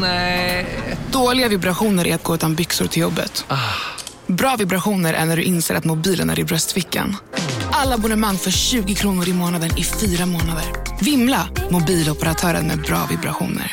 Nej. Dåliga vibrationer är att gå utan byxor till jobbet. Bra vibrationer är när du inser att mobilen är i bröstfickan. Alla abonnemang för 20 kronor i månaden i fyra månader. Vimla! Mobiloperatören med bra vibrationer.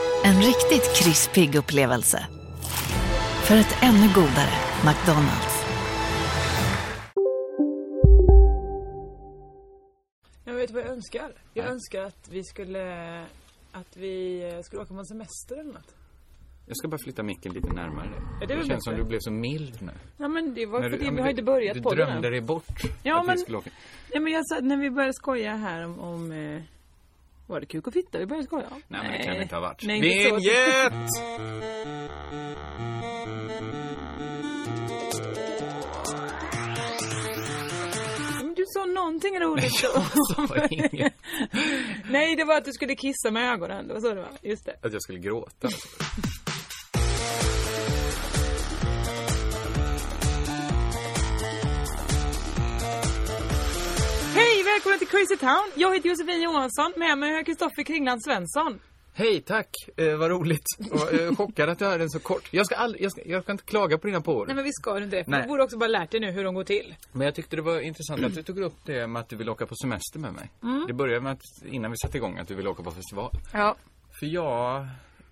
En riktigt krispig upplevelse. För ett ännu godare McDonalds. Jag vet vad jag önskar. Jag önskar att vi skulle att vi skulle åka på en semester eller något. Jag ska bara flytta micken lite närmare dig. det är väl det bättre. känns som du blev så mild nu. Ja men det var När för du- det, ja, men vi har du- inte börjat på Du drömde den dig bort Ja, att men- vi skulle åka. Nej men jag sa, när vi började skoja här om, om eh, var det kuk och fitta vi började skoja om? Nej, men det kan det inte ha varit. Nej, inte så. Vinjet! Men du sa någonting roligt då. sa inget. Nej det var att du skulle kissa med ögonen, det var så det var. Just det. Att jag skulle gråta. Hej välkommen till Crazy Town! Jag heter Josefin Johansson, med mig har jag Kristoffer Kringland Svensson. Hej, tack! Eh, vad roligt. Och, eh, chockad att du hörde den så kort. Jag ska, aldrig, jag ska, jag ska inte klaga på dina påor. Nej Men... men vi ska ju inte det, för Nej. du borde också bara lärt dig nu hur de går till. jag tyckte det var intressant att du tog upp det med att du vill åka på semester med mig. Mm. Det började med att, innan vi satte igång, att du vill åka på festival. Ja. För jag,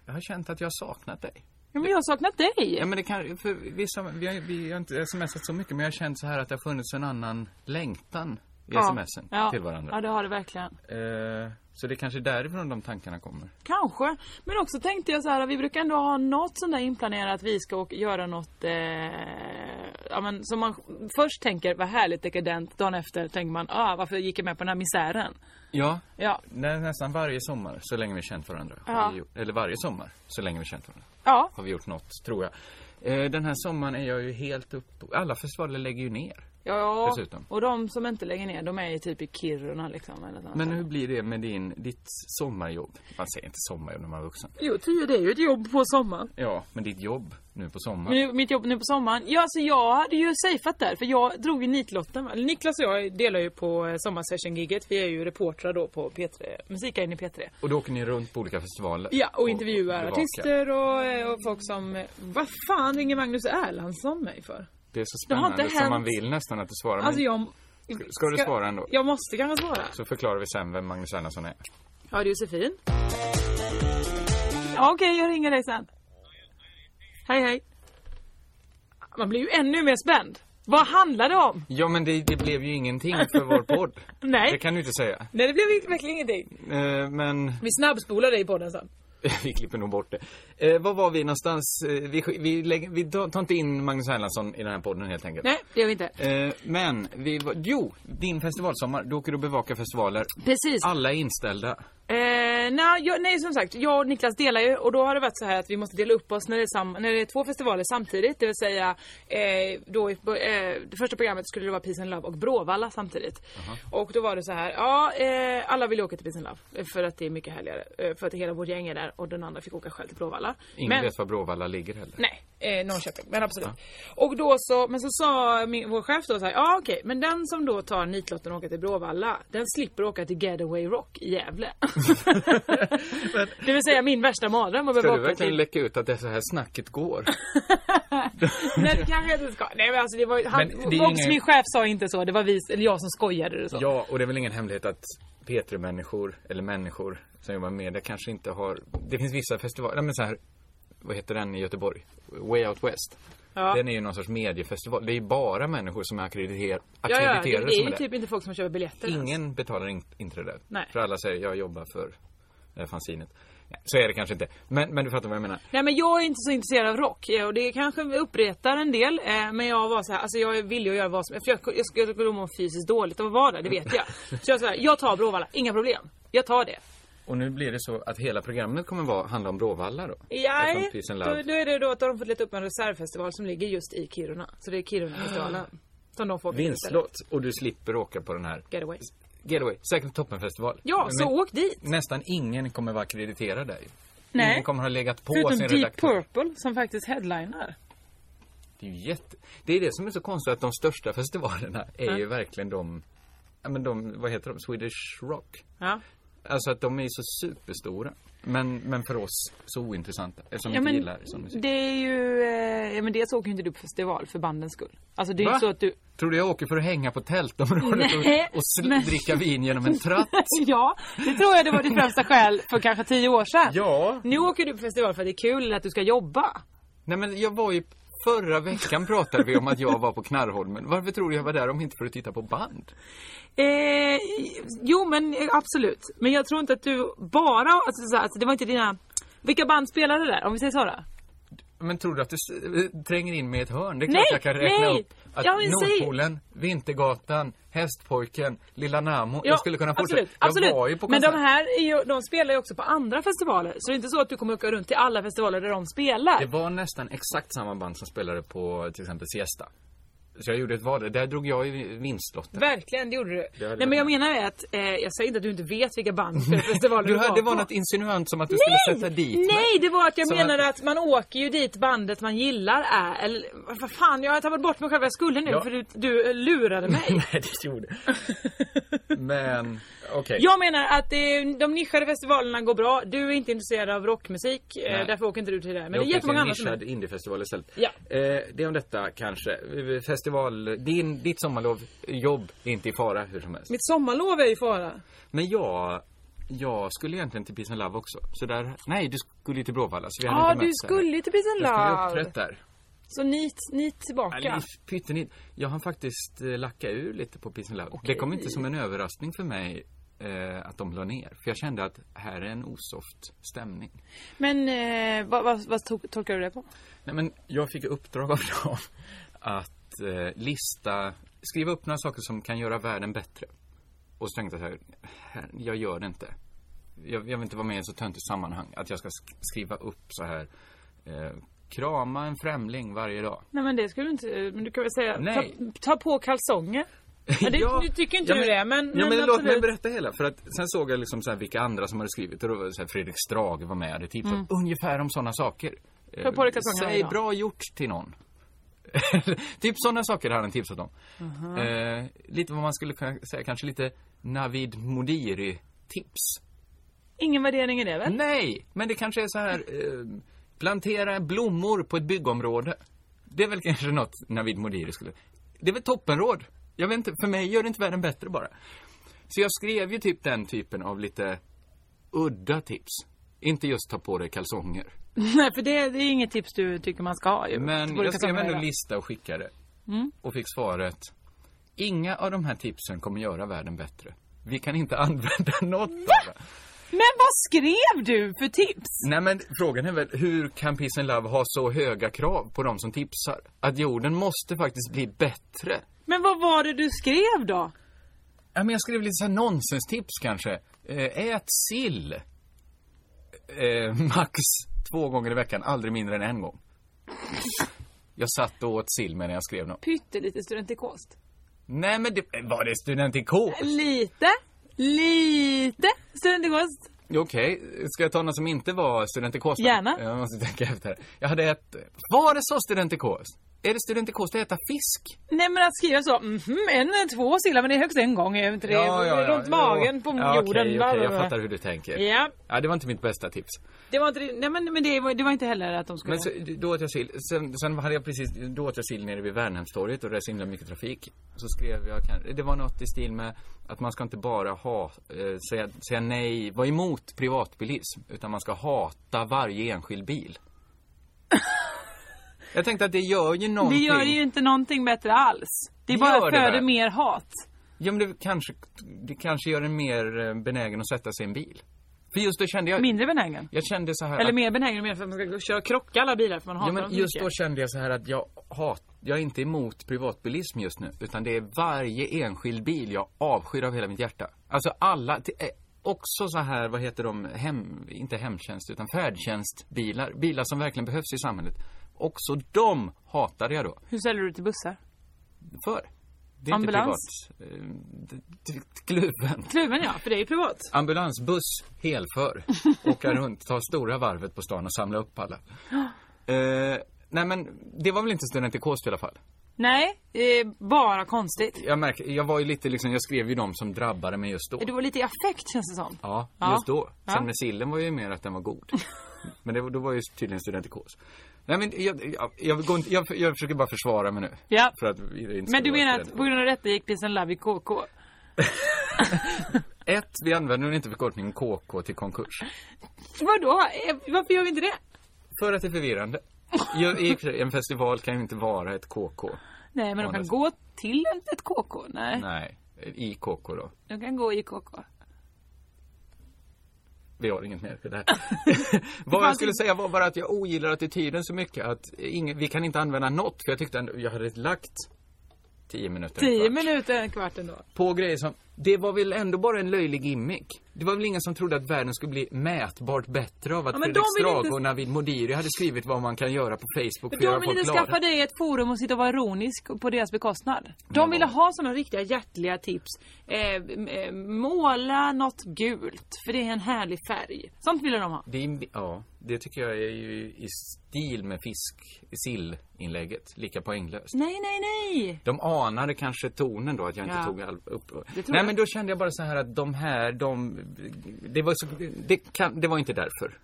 jag har känt att jag har saknat dig. Ja, men jag har saknat dig. Ja men det kan, för vissa, vi har, vi har inte smsat så mycket men jag har känt så här att det har funnits en annan längtan i smsen ja. till varandra. Ja, det har det verkligen. Eh, så det är kanske därifrån de tankarna kommer. Kanske. Men också tänkte jag så här, vi brukar ändå ha något sånt där inplanerat att vi ska åka, göra något eh, ja, men, som man först tänker, vad härligt dekadent. Dagen efter tänker man, ah, varför gick jag med på den här misären? Ja, Ja, nä, nästan varje sommar så länge vi känt varandra. har Ja. vi gjort- Eller varje sommar så länge vi känt varandra. ja, Har vi gjort något, tror jag. Eh, den här sommaren är jag ju helt upp... Alla festivaler lägger ju ner. ja. Dessutom. Och de som inte lägger ner, de är ju typ i Kiruna liksom. Eller något Men sånt. hur blir det med din, ditt sommarjobb? Man säger inte sommarjobb när man är vuxen. Jo, tio det är ju ett jobb på sommaren. Ja, men ditt jobb nu på sommaren. Nu, mitt jobb nu på sommaren. Ja, alltså jag hade ju safeat där för jag drog ju nitlotten. va? Eller Niklas och jag delar ju på eh, sommarsession-gigget. Vi är ju reportrar då på P3, Musiken i P3. Och då åker ni runt på olika festivaler? Ja, och intervjuar bevakar. artister och, eh, och folk som... eh, Vad fan ringer Magnus Erlandsson mig för? Det är så Det har inte spännande som man hänt. vill nästan att du svarar. Alltså men jag... ska du svara ändå? Jag måste kanske svara. Så förklarar vi sen vem Magnus Erlandsson är. Ja, det är Josefin. Ja, okej, jag ringer dig sen. Hej, hej. Man blir ju ännu mer spänd. Vad handlar det om? Ja, men det, det blev ju ingenting för vår podd. Nej. Det kan du inte säga. Nej, det blev verkligen ingenting. Eh, men Vi snabbspolar dig i podden sen. vi klipper nog bort det. Eh, var var vi någonstans? Eh, vi sk- vi, lägger, vi tar tar inte in Magnus Erlandsson i den här podden helt enkelt. Nej, det gör vi inte. Eh, men vi var, jo, din festivalsommar, då åker du och bevakar festivaler. Precis. Alla är inställda. Eh, nej, jag, nej, som sagt, jag och Niklas delar ju och då har det varit så här att vi måste dela upp oss när det är, sam, när det är två festivaler samtidigt. Det vill säga, eh, då, i- eh, det första programmet skulle det vara Peace and Love och Bråvalla samtidigt. Och då var det så här, ja, eh, alla vill åka till Peace and Love eh, för att det är mycket härligare. eh, För att hela vårt gäng är där och den andra fick åka själv till Bråvalla. Ingen Men- vet var Bråvalla ligger heller. Nej, eh, Norrköping. Men absolut. Och då så, men så sa min, vår chef då så här, ja okej, men den som då tar nitlotten och åker till Bråvalla, den slipper åka till Getaway Rock i Gävle. det vill säga min värsta mardröm att Ska behöva du åka verkligen till... läcka ut att det är så här snacket går? Nej det kanske jag inte ska. Nej men alltså det var han, Men det är och ju ingen- min chef sa inte så, det var vi, eller jag som skojade det så. Ja, och det är väl ingen hemlighet att P3-människor, eller människor som jobbar med media kanske inte har... Det finns vissa festivaler, nej men så här, vad heter den i Göteborg? Way Out West. Ja. Den är ju någon sorts mediefestival. Det är ju bara människor som är akkrediter- Ja, ja, det, akkrediterade det är som ju är typ inte folk som köper biljetter. där. ens. Ingen betalar in- inträde. Nej. För alla säger, jag jobbar för det här fanzinet. Nej, Så är det kanske inte. Men, men du fattar vad jag menar. Nej men jag är inte så intresserad av rock eh, och det kanske uppretar en del eh, men jag var så här, alltså jag ville ju göra vad som helst för jag, jag skulle kunna må fysiskt dåligt av att vara där, det vet jag. Så jag sa här, jag tar Bråvalla, inga problem. Jag tar det. Och nu blir det så att hela programmet kommer vara, handla om Bråvalla då. Ja, Från Peace and då, Love. då är det då att de har fått leta upp en reservfestival som ligger just i Kiruna. Så det är Kirunafestivalen. Som de får Vinstlott. Och du slipper åka på den här. Getaway. Getaway. Säkert toppenfestival. Ja, Men så åk dit. Nästan ingen kommer vara krediterad där ju. Nej. Ingen kommer ha legat på Förutom sin Deep redaktör. Purple som faktiskt headliner. Det är ju jätte... Det är det som är så konstigt att de största festivalerna är ju verkligen de... Ja men de, vad heter de? Swedish Rock. Ja. Alltså att de är så superstora. Men, men för oss så ointressanta. Eftersom Ja, vi inte men gillar sån musik. det är ju... Eh, ja, men dels åker ju inte du på festival för bandens skull. Alltså det är ju Va? inte så att du... Tror du jag åker för att hänga på tältområdet Nej, och, och sl- men- dricka vin genom en tratt? ja, det tror jag det var ditt främsta skäl för kanske tio år sedan. Ja. Nu åker du på festival för att det är kul eller att du ska jobba. Nej men jag var ju... Förra veckan pratade vi om att jag var på Knarrholmen. Varför tror du jag var där om inte för att titta på band? Eh, jo men eh, absolut. Men jag tror inte att du bara, alltså, så här, alltså det var inte dina... Vilka band spelade där? Om vi säger så då? Men tror du att du s- eh, tränger in med ett hörn? Det är Nej, klart jag kan räkna nej. upp att Ja, men säg- Nordpolen, Vintergatan, Hästpojken, Lilla Namo. Ja, jag skulle kunna fortsätta. Absolut, jag absolut. var ju på Men de konsert. här är ju, de spelar ju också på andra festivaler. Så det är inte så att du kommer åka runt till alla festivaler där de spelar. Det var nästan exakt samma band som spelade på till exempel Siesta. Så jag gjorde ett val. där. Där drog jag ju vinstlotten. Verkligen, det gjorde du. Det hade Nej men jag jag. menar är att, eh, jag säger inte att du inte vet vilka band som spelar på festivaler Du hade, det på. var något insinuant som att du Nej! skulle sätta dit mig. Nej, det var att jag Som menade att man åker ju dit bandet man gillar är. Eller vad fan, jag har tappat bort mig själv vad jag skulle nu Ja. för du, du eh, lurade mig. Nej, det gjorde Men, okej. Jag menar att eh, de nischade festivalerna går bra. Du är inte intresserad av rockmusik, eh, Nej. därför åker inte du till det. Men Jag det är åker till jättemånga en andra som är. nischad indiefestival istället. Ja. Eh, det är om detta kanske. Eh, Festival, din, ditt sommarlov, jobb är inte i fara hur som helst. Mitt sommarlov är i fara. Men jag, jag skulle egentligen till Peace and Love också. Så där, nej du skulle ju till Bråvalla så vi hade Ja, inte du mötts än. skulle ju till Peace and Jag skulle Love. uppträtt där. Så nit, nit tillbaka. Ja. Pyttenit. Jag har faktiskt eh, lackat ur lite på Peace and Love. Det kom inte som en överraskning för mig eh, att de la ner. För jag kände att här är en osoft stämning. Men eh, vad, vad, vad to- tolkar du det på? Nej, men jag fick uppdrag av dem att eh, lista, skriva upp några saker som kan göra världen bättre. Och så tänkte jag så här, här jag gör det inte. Jag, jag vill inte vara med i ett så töntigt sammanhang. Att jag ska sk- skriva upp så här, eh, krama en främling varje dag. Nej men det skulle du inte, men du kan väl säga Nej. Ta, ta på kalsonger. Ja, det, Nu tycker inte du det men, ja, men, låt mig absolut. berätta hela. För att sen såg jag liksom så här vilka andra som hade skrivit. Och då var det så här Fredrik Strage var med och hade tipsat ungefär om sådana saker. Mm. Eh, Ta på dig kalsongerna Säg idag. bra gjort till någon. typ sådana saker hade han tipsat om. Mhm. Eh, lite vad man skulle kunna säga, kanske lite Navid Modiri-tips. Ingen värdering i det väl? Nej, men det kanske är så här. Eh, plantera blommor på ett byggområde. Det är väl kanske något Navid Modiri skulle... Det är väl toppenråd. Jag vet inte, för mig gör det inte världen bättre bara. Så jag skrev ju typ den typen av lite udda tips. Inte just ta på dig kalsonger. Nej för det, det är inget tips du tycker man ska ha ju. Ta på Men dig Mm. jag skrev kalsongerna ändå idag. lista och skickade. Och fick svaret. Inga av de här tipsen kommer göra världen bättre. Vi kan inte använda något av det. Men vad skrev du för tips? Nej men frågan är väl hur kan Peace and Love ha så höga krav på de som tipsar? Att jorden måste faktiskt bli bättre. Men vad var det du skrev då? Ja, men jag skrev lite så här nonsenstips kanske. Eh, ät sill. Eh, max två gånger i veckan, aldrig mindre än en gång. Jag satt och åt sill medan jag skrev något. Pyttelite studentikost. Nej men det, eh, var det studentikos? Lite. Lite studentikost. Okej, ska jag ta något som inte var studentikos? då? Gärna. Jag måste tänka efter. Jag hade ett... Var det så studentikos? Är det studentikos att äta fisk? Nej men att skriva så, mhm, en, två sillar men det är högst en gång. Är inte det, runt magen på ja, jorden. Okej, okej, jag fattar hur du tänker. Ja, Ja, det var inte mitt bästa tips. det var inte det- Nej men, men det, var, det var inte heller att de skulle... Men så, då åt jag sill. Sen, sen hade jag precis, då åt jag sill nere vid Värnhemstorget och det är så himla mycket trafik. Så skrev jag, kan- det var något i stil med att man ska inte bara ha, eh, säga, säga nej, vara emot privatbilism. Utan man ska hata varje enskild bil. jag tänkte att det gör ju det någonting. gör ju inte någonting bättre alls. Det är Det bara gör det föder väl? mer hat. Ja, men det kanske, det kanske gör en mer eh, benägen att sätta sig i en bil. För just då kände jag, Mindre benägen. jag kände så här Eller att- mer benägen mer för att man ska gå och köra och krocka alla bilar för man hatar Ja, dem men så just då mycket. kände jag så här att jag hat, jag är inte emot privatbilism just nu, utan det är varje enskild bil jag avskyr av hela mitt hjärta. Alltså alla, t- eh, också så här, vad heter de, hem, inte hemtjänst utan färdtjänstbilar. Bilar som verkligen behövs i samhället. Också de hatade jag då. Hur säljer du till bussar? För. Det är Ambulans? inte privat. Eh, d- d- Kluven. Kluven ja, för det är ju privat. Ambulansbuss, helför. Åka runt, ta stora varvet på stan och samla upp alla. Eh, nej men, det var väl inte studentikos i alla fall. Nej, eh, bara konstigt. Jag märker, jag var ju lite liksom, jag skrev ju de som drabbade mig just då. Du var lite i affekt känns det som. Ja, Ja. just då. Sen Ja. med sillen var ju mer att den var god. Men det, var- då var ju tydligen studentikos. Nej men jag, jag, jag, går inte, jag, jag försöker bara försvara mig nu. Ja. För att det inte ska Men du vara menar att studentikos. på grund av detta gick Peace and Love i KK? Ett, vi använder väl inte förkortningen KK till konkurs. Vadå? Eh, Varför gör vi inte det? För att det är förvirrande. Jag, i och för sig, en festival kan ju inte vara ett KK. Nej, men de kan Honest. gå till en- ett KK. Nej, Nej, i KK då. de kan gå i KK. Vi har inget mer för det här. Vad jag skulle säga var bara att jag ogillar attityden så mycket att ingen, vi kan inte använda något. För jag tyckte ändå, jag hade lagt 10 minuter. en Tio kvart. minuter, en kvart ändå. på grejer som, det var väl ändå bara en löjlig gimmick? Det var väl ingen som trodde att världen skulle bli mätbart bättre av att Ja, men Fredrik de vill Strage inte- och Navid Modiri hade skrivit vad man kan göra på Facebook Men för att de göra vill folk inte glada. skaffa dig ett forum och sitta och vara ironisk på deras bekostnad. De ville ha sådana riktiga hjärtliga tips. Eh, m- eh, måla något gult, för det är en härlig färg. Sånt ville de ha. Det är, ja, det tycker jag är ju i stil med fisk, sillinlägget, lika poänglöst. Nej, nej, nej! De anade kanske tonen då, att jag inte Ja. tog all, upp. Nej, tror jag. men då kände jag bara så här att de här, de, det var så, det, kan, det var inte därför.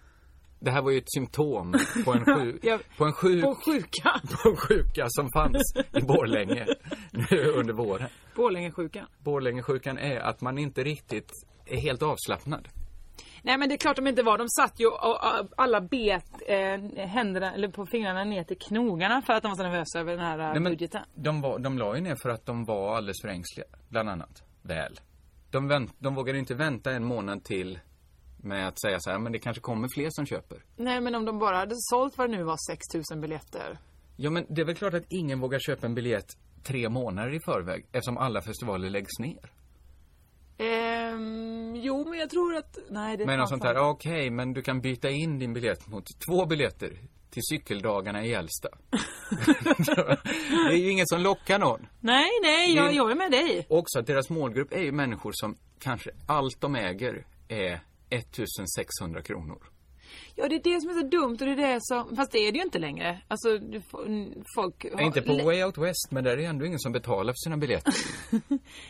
Det här var ju ett symptom på en, sju, Ja. på en sjuk På sjuka. på sjuka som fanns i Borlänge nu under våren. Borlängesjukan. Borlängesjukan är att man inte riktigt är helt avslappnad. Nej men det är klart de inte var. De satt ju och, och alla bet eh, händerna, eller på fingrarna ner till knogarna för att de var så nervösa över den här eh, Nej, men budgeten. de, var, de la ju ner för att de var alldeles för ängsliga, bland annat. Väl. De, vänt, de vågade inte vänta en månad till med att säga så här, men det kanske kommer fler som köper. Nej men om de bara hade sålt vad det nu var 6000 biljetter. Ja, men det är väl klart att ingen vågar köpa en biljett tre månader i förväg eftersom alla festivaler läggs ner. Ehm, jo men jag tror att... Nej det är Men något fan sånt där, sant. ja, okej, men du kan byta in din biljett mot två biljetter till cykeldagarna i Älsta. det är ju inget som lockar någon. Nej nej, Det jag, är- jag är med dig. Också att deras målgrupp är ju människor som kanske allt de äger är 1600 kronor. Ja det är det som är så dumt och det är det som... Fast det är det ju inte längre. Alltså du får- n- folk... har- Inte på le- Way Out West, men där är det ändå ingen som betalar för sina biljetter.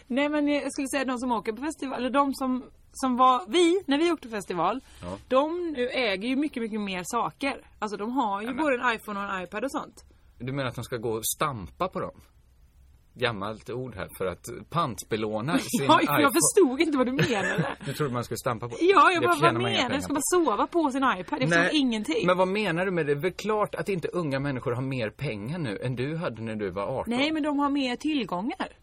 Nej men jag skulle säga de som åker på festival, eller de som, som var, vi, när vi åkte på festival. Ja. De nu äger ju mycket, mycket mer saker. Alltså de har ju både en iPhone och en iPad och sånt. Du menar att de ska gå och stampa på dem? Gammalt ord här för att pantbelåna sin Ja, jag iPhone. förstod inte vad du menade. Du trodde man skulle stampa på? Ja, jag Det bara, tjänar vad man inga menar du? pengar Ska på. man sova på sin iPad? Jag förstod ingenting. Men vad menar du med det? Det är väl klart att inte unga människor har mer pengar nu än du hade när du var 18? Nej, men de har mer tillgångar.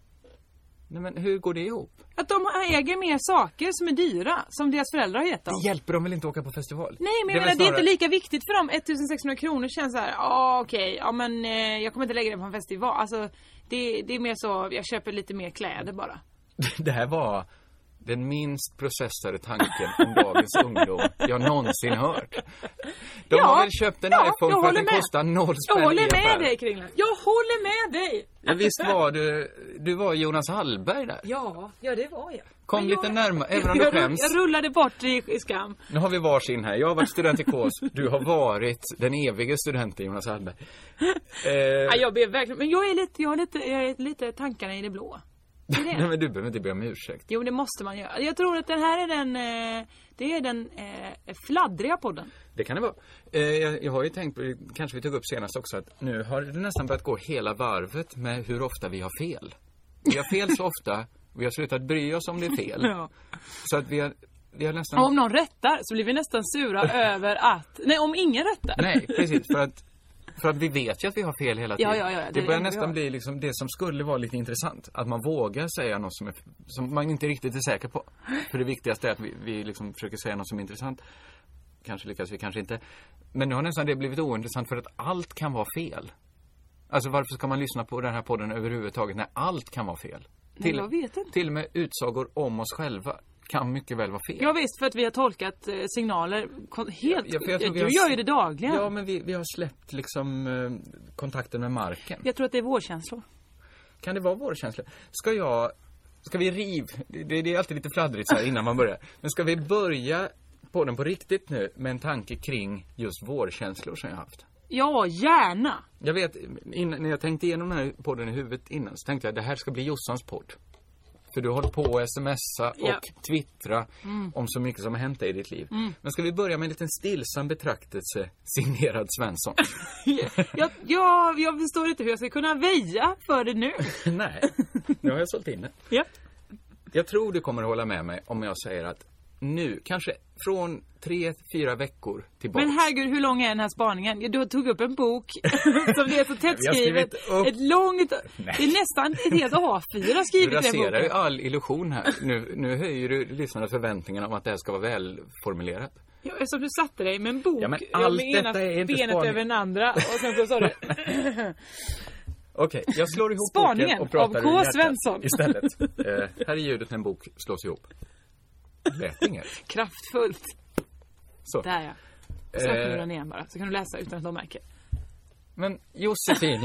Nej, men hur går det ihop? Att de äger mer saker som är dyra, som deras föräldrar har gett dem. Det hjälper dem väl inte att åka på festival? Nej, men är jag menar, väl det är inte snarare- lika viktigt för dem. 1600 kronor känns så här, ja okej, ja men eh, jag kommer inte lägga det på en festival. Alltså, det, det är mer så, jag köper lite mer kläder bara. Det här var den minst processade tanken om dagens ungdom jag någonsin hört. De har väl köpt en ja, iPhone jag för att håller den med. kostar noll spänn Jag i håller med affären. dig Kringlan. Jag håller med dig! Ja, visst var du, du var Jonas Hallberg där? Ja, ja det var jag. Kom lite närmare, även om du Jag, rull, skäms. jag rullade bort i, i skam. Nu har vi varsin här. Jag har varit studentikos. Du har varit den evige studenten Jonas Hallberg. Eh, Ja, jag ber verkligen, men jag är lite, jag har lite, jag är lite tankarna i det blå. Det är Eh, Nej det. men du behöver inte be om ursäkt. Jo, det måste man göra. Jag tror att den här är den, eh, det är den eh, fladdriga podden. Det kan det vara. Eh, jag, jag har ju tänkt, på- kanske vi tog upp senast också, att nu har det nästan börjat gå hela varvet med hur ofta vi har fel. Vi har fel så ofta, vi har slutat bry oss om det är fel. Ja. Så att vi har, vi har Och om nästan... någon rättar så blir vi nästan sura över att, nej om ingen rättar. Nej, precis. För att, för att vi vet ju att vi har fel hela tiden. ja, ja, det det är börjar det vi nästan har. bli liksom det som skulle vara lite intressant. Att man vågar säga något som, är, som man inte riktigt är säker på. För det viktigaste är att vi, vi liksom försöker säga något som är intressant. Kanske lyckas vi, kanske inte. Men nu har nästan det blivit ointressant för att allt kan vara fel. Alltså varför ska man lyssna på den här podden överhuvudtaget när allt kan vara fel? Till, jag vet inte. till och med utsagor om oss själva kan mycket väl vara fel. Ja, visst, för att vi har tolkat eh, signaler kon- helt... Ja, för jag tror vi du har- gör ju det dagligen. Ja, men vi, vi har släppt liksom eh, kontakten med marken. Jag tror att det är vårkänslor. Kan det vara vår känsla? Ska jag... Ska vi riv... Det, det det är alltid lite fladdrigt så här innan man börjar. Men ska vi börja på den på riktigt nu med en tanke kring just vårkänslor som jag har haft? Ja, gärna! Jag vet, innan, när jag tänkte igenom den här podden i huvudet innan så tänkte jag det här ska bli Jossans podd. För du har hållit på att smsa och Ja. Mm. twittra om så mycket som har hänt dig i ditt liv. Men ska vi börja med en liten stillsam betraktelse signerad Svensson? Jag, jag, jag förstår inte hur jag ska kunna väja för det nu. Nej, nu har jag sålt in det. Ja. Jag tror du kommer att hålla med mig om jag säger att nu, kanske från tre, fyra veckor tillbaka. Men herregud, hur lång är den här spaningen? Ja, Du tog upp en bok som det är så tätt Vi har skrivet. skrivit upp- Ett långt... Det är nästan ett helt A4 du skrivet i den raserar ju boken. all illusion här. Nu, nu höjer du lyssnarnas förväntningar om att det här ska vara välformulerat. Ja, eftersom du satte dig med en bok Ja, men ja, allt med ena detta är inte benet spaning. över den andra och sen så sa du... Okej, jag slår ihop Spaningen boken och pratar av K. ur hjärtat Svensson. istället. Eh, här är ljudet när en bok slås ihop. Lät inget. Kraftfullt. Så. Där ja. Och Så öppnar du Eh. den igen bara, så kan du läsa utan att de märker. Men Josefin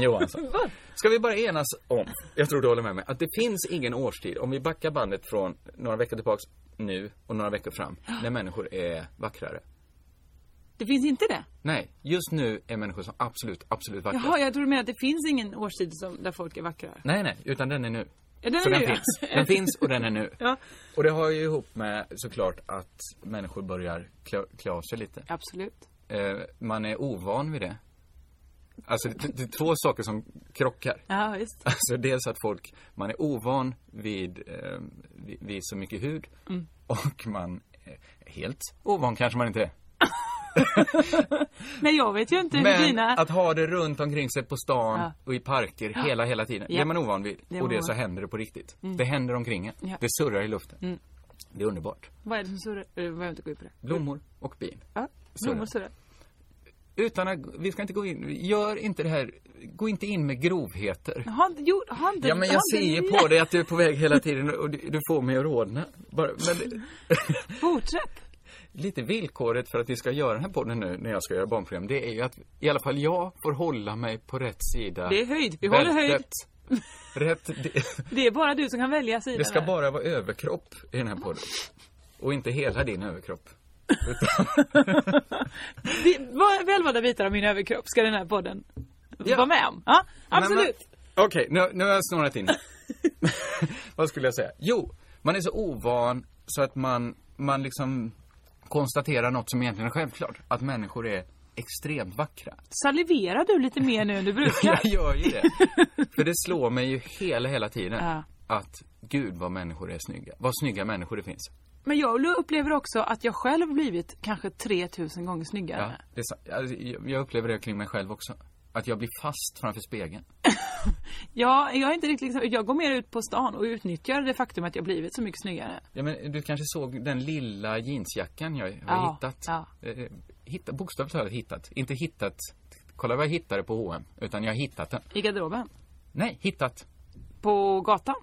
Johansson, ska vi bara enas om, jag tror du håller med mig, att det finns ingen årstid, om vi backar bandet från några veckor tillbaks nu och några veckor fram, när människor är vackrare. Det finns inte det? Nej, just nu är människor som absolut, absolut vackra. Jaha, jag tror du menar att det finns ingen årstid som, där folk är vackrare. Nej, nej, utan den är nu. Ja, den Så är den nu, ja. finns. Den finns och den är nu. Ja. Och det har ju ihop med såklart att människor börjar klä, klä av sig lite. Absolut. Eh, man är ovan vid det. Alltså det, det är två saker som krockar. Ja, visst. Alltså dels att folk, man är ovan vid, eh, vid, vid så mycket hud Mm. och man, eh, helt ovan kanske man inte är. Nej, jag vet ju inte hur Men dina... att ha det runt omkring sig på stan Ja. och i parker hela, hela tiden. Ja. Det är man ovan vid Det är och man det så ovan. Mm. händer det på riktigt. Det händer omkring en. Ja. Mm. Det surrar i luften. Det är underbart. Vad är det som surrar? Eh, Jag behöver inte gå in på det. Blommor och bin. Ja, Surrar. blommor surrar. Utan att, vi ska inte gå in, gör inte det här, gå inte in med grovheter. Har inte gjort... Har inte... Ja men jag har ser ju inte- på dig att du är på väg hela tiden och du, du får mig att rodna. Bara, men, Fortsätt. lite villkoret för att vi ska göra den här podden nu när jag ska göra barnprogram, det är ju att i alla fall jag får hålla mig på rätt sida. Det är höjd. Vi håller höjd. Bältet. Rätt, det, Det är bara du som kan välja sida. det ska där. bara vara överkropp i den här podden. Och inte hela din överkropp. Vi, vad- välvalda bitar av min överkropp ska den här podden Ja. vara med om. Ja, absolut. Men- Okej, nu, nu har jag snurrat in. Vad skulle jag säga? Jo, man är så ovan så att man, man liksom konstaterar något som egentligen är självklart. Att människor är extremt vackra. Saliverar du lite mer nu än du brukar? Jag gör ju det. För det slår mig ju hela, hela tiden. Ja. Att gud vad människor är snygga. Vad snygga människor det finns. Men jag upplever också att jag själv blivit kanske 3000 gånger Ja, snyggare. det är, sa- alltså, jag jag upplever det kring mig själv också. Att jag blir fast framför spegeln. Ja, jag är inte riktigt liksom, jag går mer ut på stan och utnyttjar det faktum att jag blivit så mycket snyggare. Ja, men du kanske såg den lilla jeansjackan jag har Ja, hittat. ja. Eh, Hitta, bokstavligt talat hittat. Inte hittat. Kolla vad jag hittade på H&M Utan jag har hittat den. I garderoben. Nej, hittat. På gatan.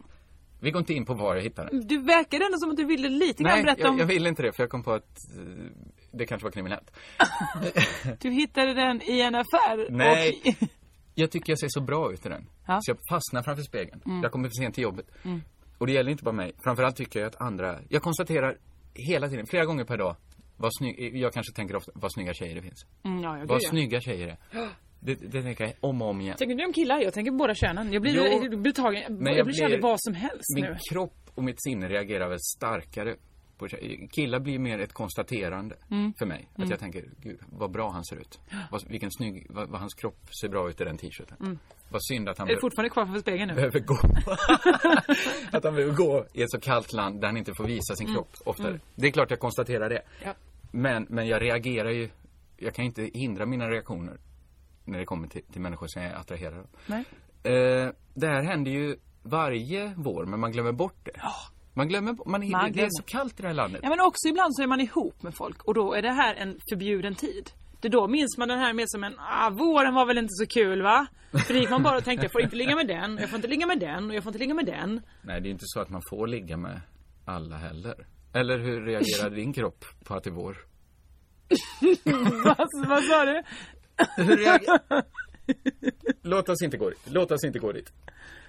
Vi går inte in på var jag hittade den. Du verkar ändå som att du ville lite grann Nej, berätta om... jag, jag ville inte det för jag kom på att eh, det kanske var kriminellt. Du hittade den i en affär. Nej. Och... Jag tycker jag ser så bra ut i den. Ja. Mm. Så jag fastnar framför spegeln. Jag kommer för sent till jobbet. Och det gäller inte bara mig. Framförallt tycker jag att andra... Jag konstaterar hela tiden, flera gånger per dag, vad snygg... jag kanske tänker ofta, vad snygga tjejer det finns. Mm, ja, jag Vad gud, ja. snygga tjejer är. Det, det tänker jag om och om igen. Tänker du om killar? Jag tänker på båda könen. Jag blir, Jo. jag blir tagen, Men jag, jag blir kär i blir- vad som helst Min nu. kropp och mitt sinne reagerar väl starkare. På tjejer. Killar blir mer ett konstaterande Mm. för mig. Att jag tänker, gud vad bra han ser ut. Vad, vilken snygg, vad, vad hans kropp ser bra ut i den t-shirten. Vad synd att han... Mm. Är du be- fortfarande kvar framför spegeln nu? behöver gå. att han behöver gå i ett så kallt land där han inte får visa sin kropp oftare. Det är klart jag konstaterar det. Mm. Ja. Men, men jag reagerar ju. Jag kan ju inte hindra mina reaktioner när det kommer till, till människor som jag attraherar. av. Nej. Eh, det här händer ju varje vår, men man glömmer bort det. Man glömmer bort, man, Man det är glömmer. så kallt i det här landet. Ja men också ibland så är man ihop med folk och då är det här en förbjuden tid. Det då minns man den här mer som en, ah våren var väl inte så kul va? För det gick man bara och tänkte jag får inte ligga med den, jag får inte ligga med den och jag får inte ligga med den. Nej, det är ju inte så att man får ligga med alla heller. Eller hur reagerar din kropp på att det är vår? Alltså, Vad, vad sa du? Hur reagerar... Låt oss inte gå dit. Låt oss inte gå dit.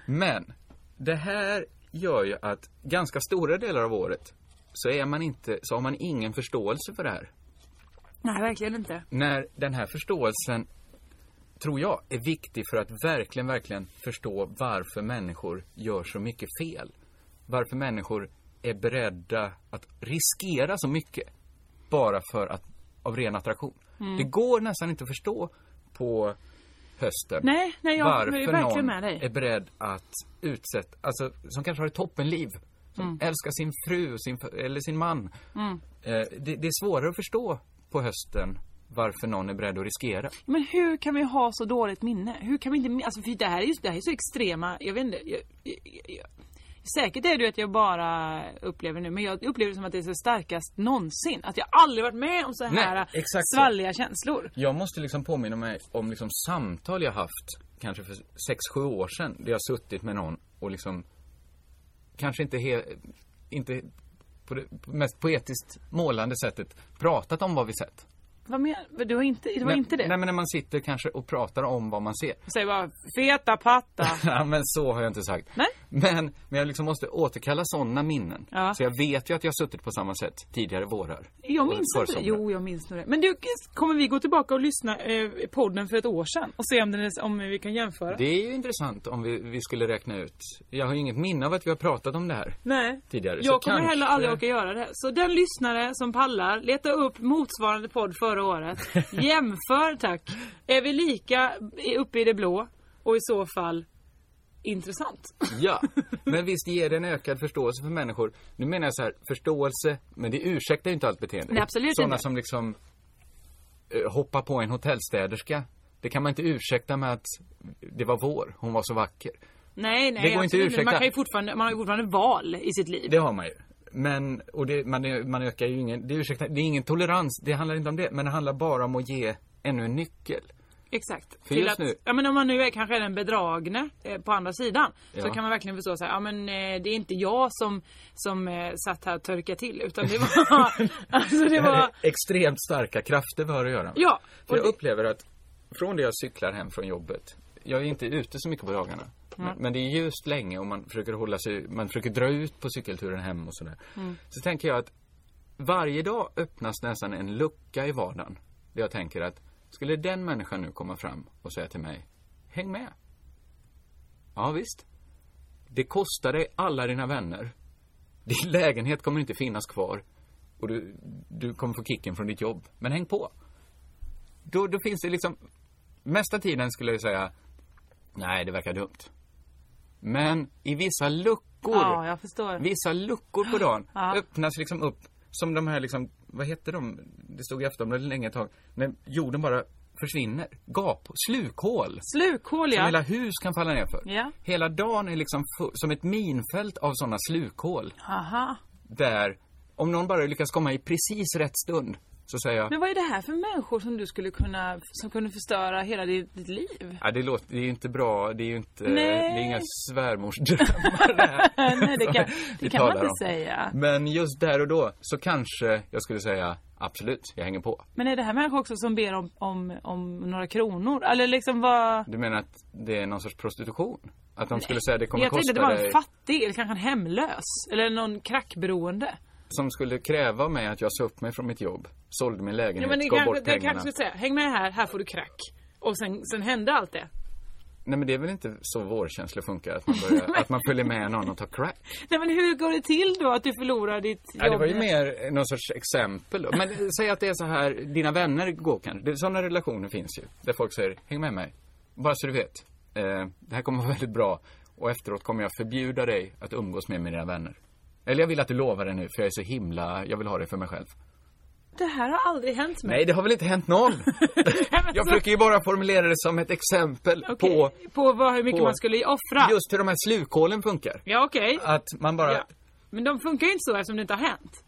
Men det här gör ju att ganska stora delar av året så, är man inte, så har man ingen förståelse för det här. Nej, verkligen inte. När den här förståelsen, tror jag, är viktig för att verkligen, verkligen förstå varför människor gör så mycket fel. Varför människor är beredda att riskera så mycket bara för att, av ren attraktion. Det går nästan inte att förstå på hösten Nej, nej, jag är varför någon verkligen med dig. är beredd att utsätta, alltså som kanske har ett toppenliv. Som Mm. älskar sin fru och sin, eller sin man. Eh, det, det är svårare att förstå på hösten varför någon är beredd att riskera. Men hur kan vi ha så dåligt minne? Hur kan vi inte... Alltså för det här är ju det här är så extrema... Jag vet inte. Jag, jag, jag, säkert är det ju att jag bara upplever nu, men jag upplever det som att det är så starkast någonsin. Att jag aldrig varit med om så här Nej, exakt så. svalliga känslor. Jag måste liksom påminna mig om liksom samtal jag haft kanske för sex sju år sedan där jag suttit med någon och liksom kanske inte, he, inte på det mest poetiskt målande sättet pratat om vad vi sett. Vad menar du? Har inte, det var Nej, inte det? Nej men när man sitter kanske och pratar om vad man ser. Säg bara feta patta. Ja, men så har jag inte sagt. Nej. Men, men jag liksom måste återkalla sådana minnen. Ja. Så jag vet ju att jag har suttit på samma sätt tidigare vårar. Jag Och minns inte det. försomrar. Jo, jag minns nog det. Men du, kommer vi gå tillbaka och lyssna eh, i podden för ett år sedan och se om, den är, om vi kan jämföra? Det är ju intressant om vi, vi skulle räkna ut. Jag har ju inget minne av att vi har pratat om det här. Nej. tidigare, så Jag kommer kanske- heller aldrig orka göra det. Så den lyssnare som pallar, leta upp motsvarande podd förra året. Jämför tack. Är vi lika i- uppe i det blå? Och i så fall intressant. Ja, men visst ger det en ökad förståelse för människor. Nu menar jag så här, förståelse, men det ursäktar ju inte allt beteende. Nej, absolut Sådana inte. som liksom eh, hoppar på en hotellstäderska. Det kan man inte ursäkta med att det var vår, hon var så vacker. Nej, nej. Det går inte absolut att ursäkta. Man, kan ju fortfarande, man har ju fortfarande val i sitt liv. Det har man ju. Men, och det, man, man ökar ju ingen, det, är ursäkta, det är ingen tolerans, det handlar inte om det, men det handlar bara om att ge ännu en nyckel. Exakt. För Till just att, nu- ja, men om man nu är kanske den bedragne eh, på andra sidan så Ja. kan man verkligen förstå så här, ja men eh, det är inte jag som, som eh, satt här och törkade till utan det var, alltså det var, Extremt starka krafter vi har att göra med. ja. För Och jag det, upplever att från det jag cyklar hem från jobbet, jag är inte ute så mycket på dagarna. Men, men det är ljust länge och man försöker hålla sig, man försöker dra ut på cykelturen hem och sådär. Mm. Så tänker jag att varje dag öppnas nästan en lucka i vardagen. Där jag tänker att skulle den människan nu komma fram och säga till mig, häng med. Ja visst. Det kostar dig alla dina vänner. Din lägenhet kommer inte finnas kvar. Och du, du kommer få kicken från ditt jobb. Men häng på då, då finns det liksom, mesta tiden skulle jag säga, nej det verkar dumt. Men i vissa luckor, ja, jag förstår. vissa luckor på dagen Ja. öppnas liksom upp som de här liksom, vad hette de? Det stod i Aftonbladet länge ett tag. När jorden bara försvinner. Gap, slukhål. Slukhål Som ja. hela hus kan falla ner för. Ja. Hela dagen är liksom fu- som ett minfält av sådana slukhål. Aha. Där, om någon bara lyckas komma i precis rätt stund, så säger jag, Men vad är det här för människor som du skulle kunna, som kunde förstöra hela ditt, ditt liv? Ja, det låter, det är ju inte bra, det är ju inte, Nej. det är inga svärmorsdrömmar det här. Nej, det som kan, vi det kan man talar inte om. säga. Men just där och då så kanske jag skulle säga absolut, jag hänger på. Men är det här människor också som ber om, om, om några kronor? Eller liksom vad? Du menar att det är någon sorts prostitution? Att de skulle säga det kommer Jag tänkte kosta att det var en dig, fattig, eller kanske en hemlös. Eller någon crackberoende. som skulle kräva av mig att jag sa upp mig från mitt jobb, sålde min lägenhet, Ja, men det gav kanske, bort det pengarna. kanske skulle säga, häng med här, här får du crack. Och sen, sen hände allt det. Nej men det är väl inte så vårkänslor funkar, att man, börjar, att man följer med någon och tar crack. Nej men hur går det till då att du förlorar ditt jobb? Ja, det var ju mer någon sorts exempel då. Men eh, säg att det är så här, dina vänner går kanske. Det- Sådana relationer finns ju. Där folk säger, häng med mig. Bara så du vet. Eh, det här kommer vara väldigt bra. Och efteråt kommer jag förbjuda dig att umgås med mina vänner. Eller jag vill att du lovar det nu, för jag är så himla, jag vill ha det för mig själv. Det här har aldrig hänt mig. Nej, det har väl inte hänt någon? Nej, men Jag så- försöker ju bara formulera det som ett exempel Okej, på på vad, hur mycket på- man skulle offra. just hur de här slukhålen funkar. Ja okej. Att man bara, Ja. Men de funkar ju inte så eftersom det inte har hänt.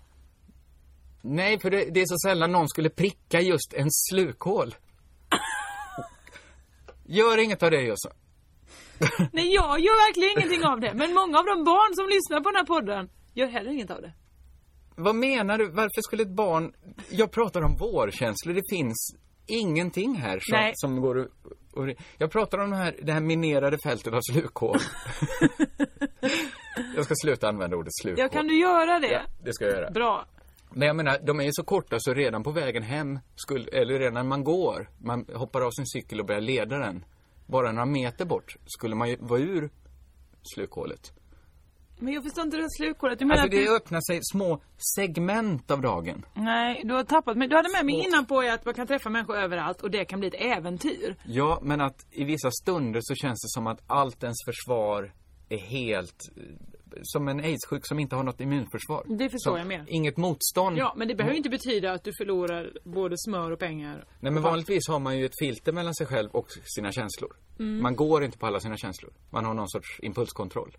Nej, för det, det är så sällan någon skulle pricka just en slukhål. Gör inget av det, Jossa. Nej jag gör verkligen ingenting av det. Men många av de barn som lyssnar på den här podden gör heller inget av det. Vad menar du? Varför skulle ett barn... Jag pratar om vårkänslor. Det finns ingenting här som, Nej. som går... att- Och, jag pratar om det här, det här minerade fältet av slukhål. jag ska sluta använda ordet slukhål. Ja, kan du göra det? Ja, det ska jag göra. Bra. Men jag menar, de är ju så korta så redan på vägen hem, skulle, eller redan när man går, man hoppar av sin cykel och börjar leda den. Bara några meter bort skulle man ju vara ur slukhålet. Men jag förstår inte det här slukhålet. Du menar Alltså att du... det öppnar sig små segment av dagen. Nej, du har tappat mig. Du hade med mig innan på att man kan träffa människor överallt och det kan bli ett äventyr. Ja, men att i vissa stunder så känns det som att allt ens försvar är helt eh, som en aidssjuk som inte har något immunförsvar. Det förstår som, jag mer. Inget motstånd. Ja, men det behöver ju inte betyda att du förlorar både smör och pengar. Nej men vanligtvis har man ju ett filter mellan sig själv och sina känslor. Mm. Man går inte på alla sina känslor. Man har någon sorts impulskontroll.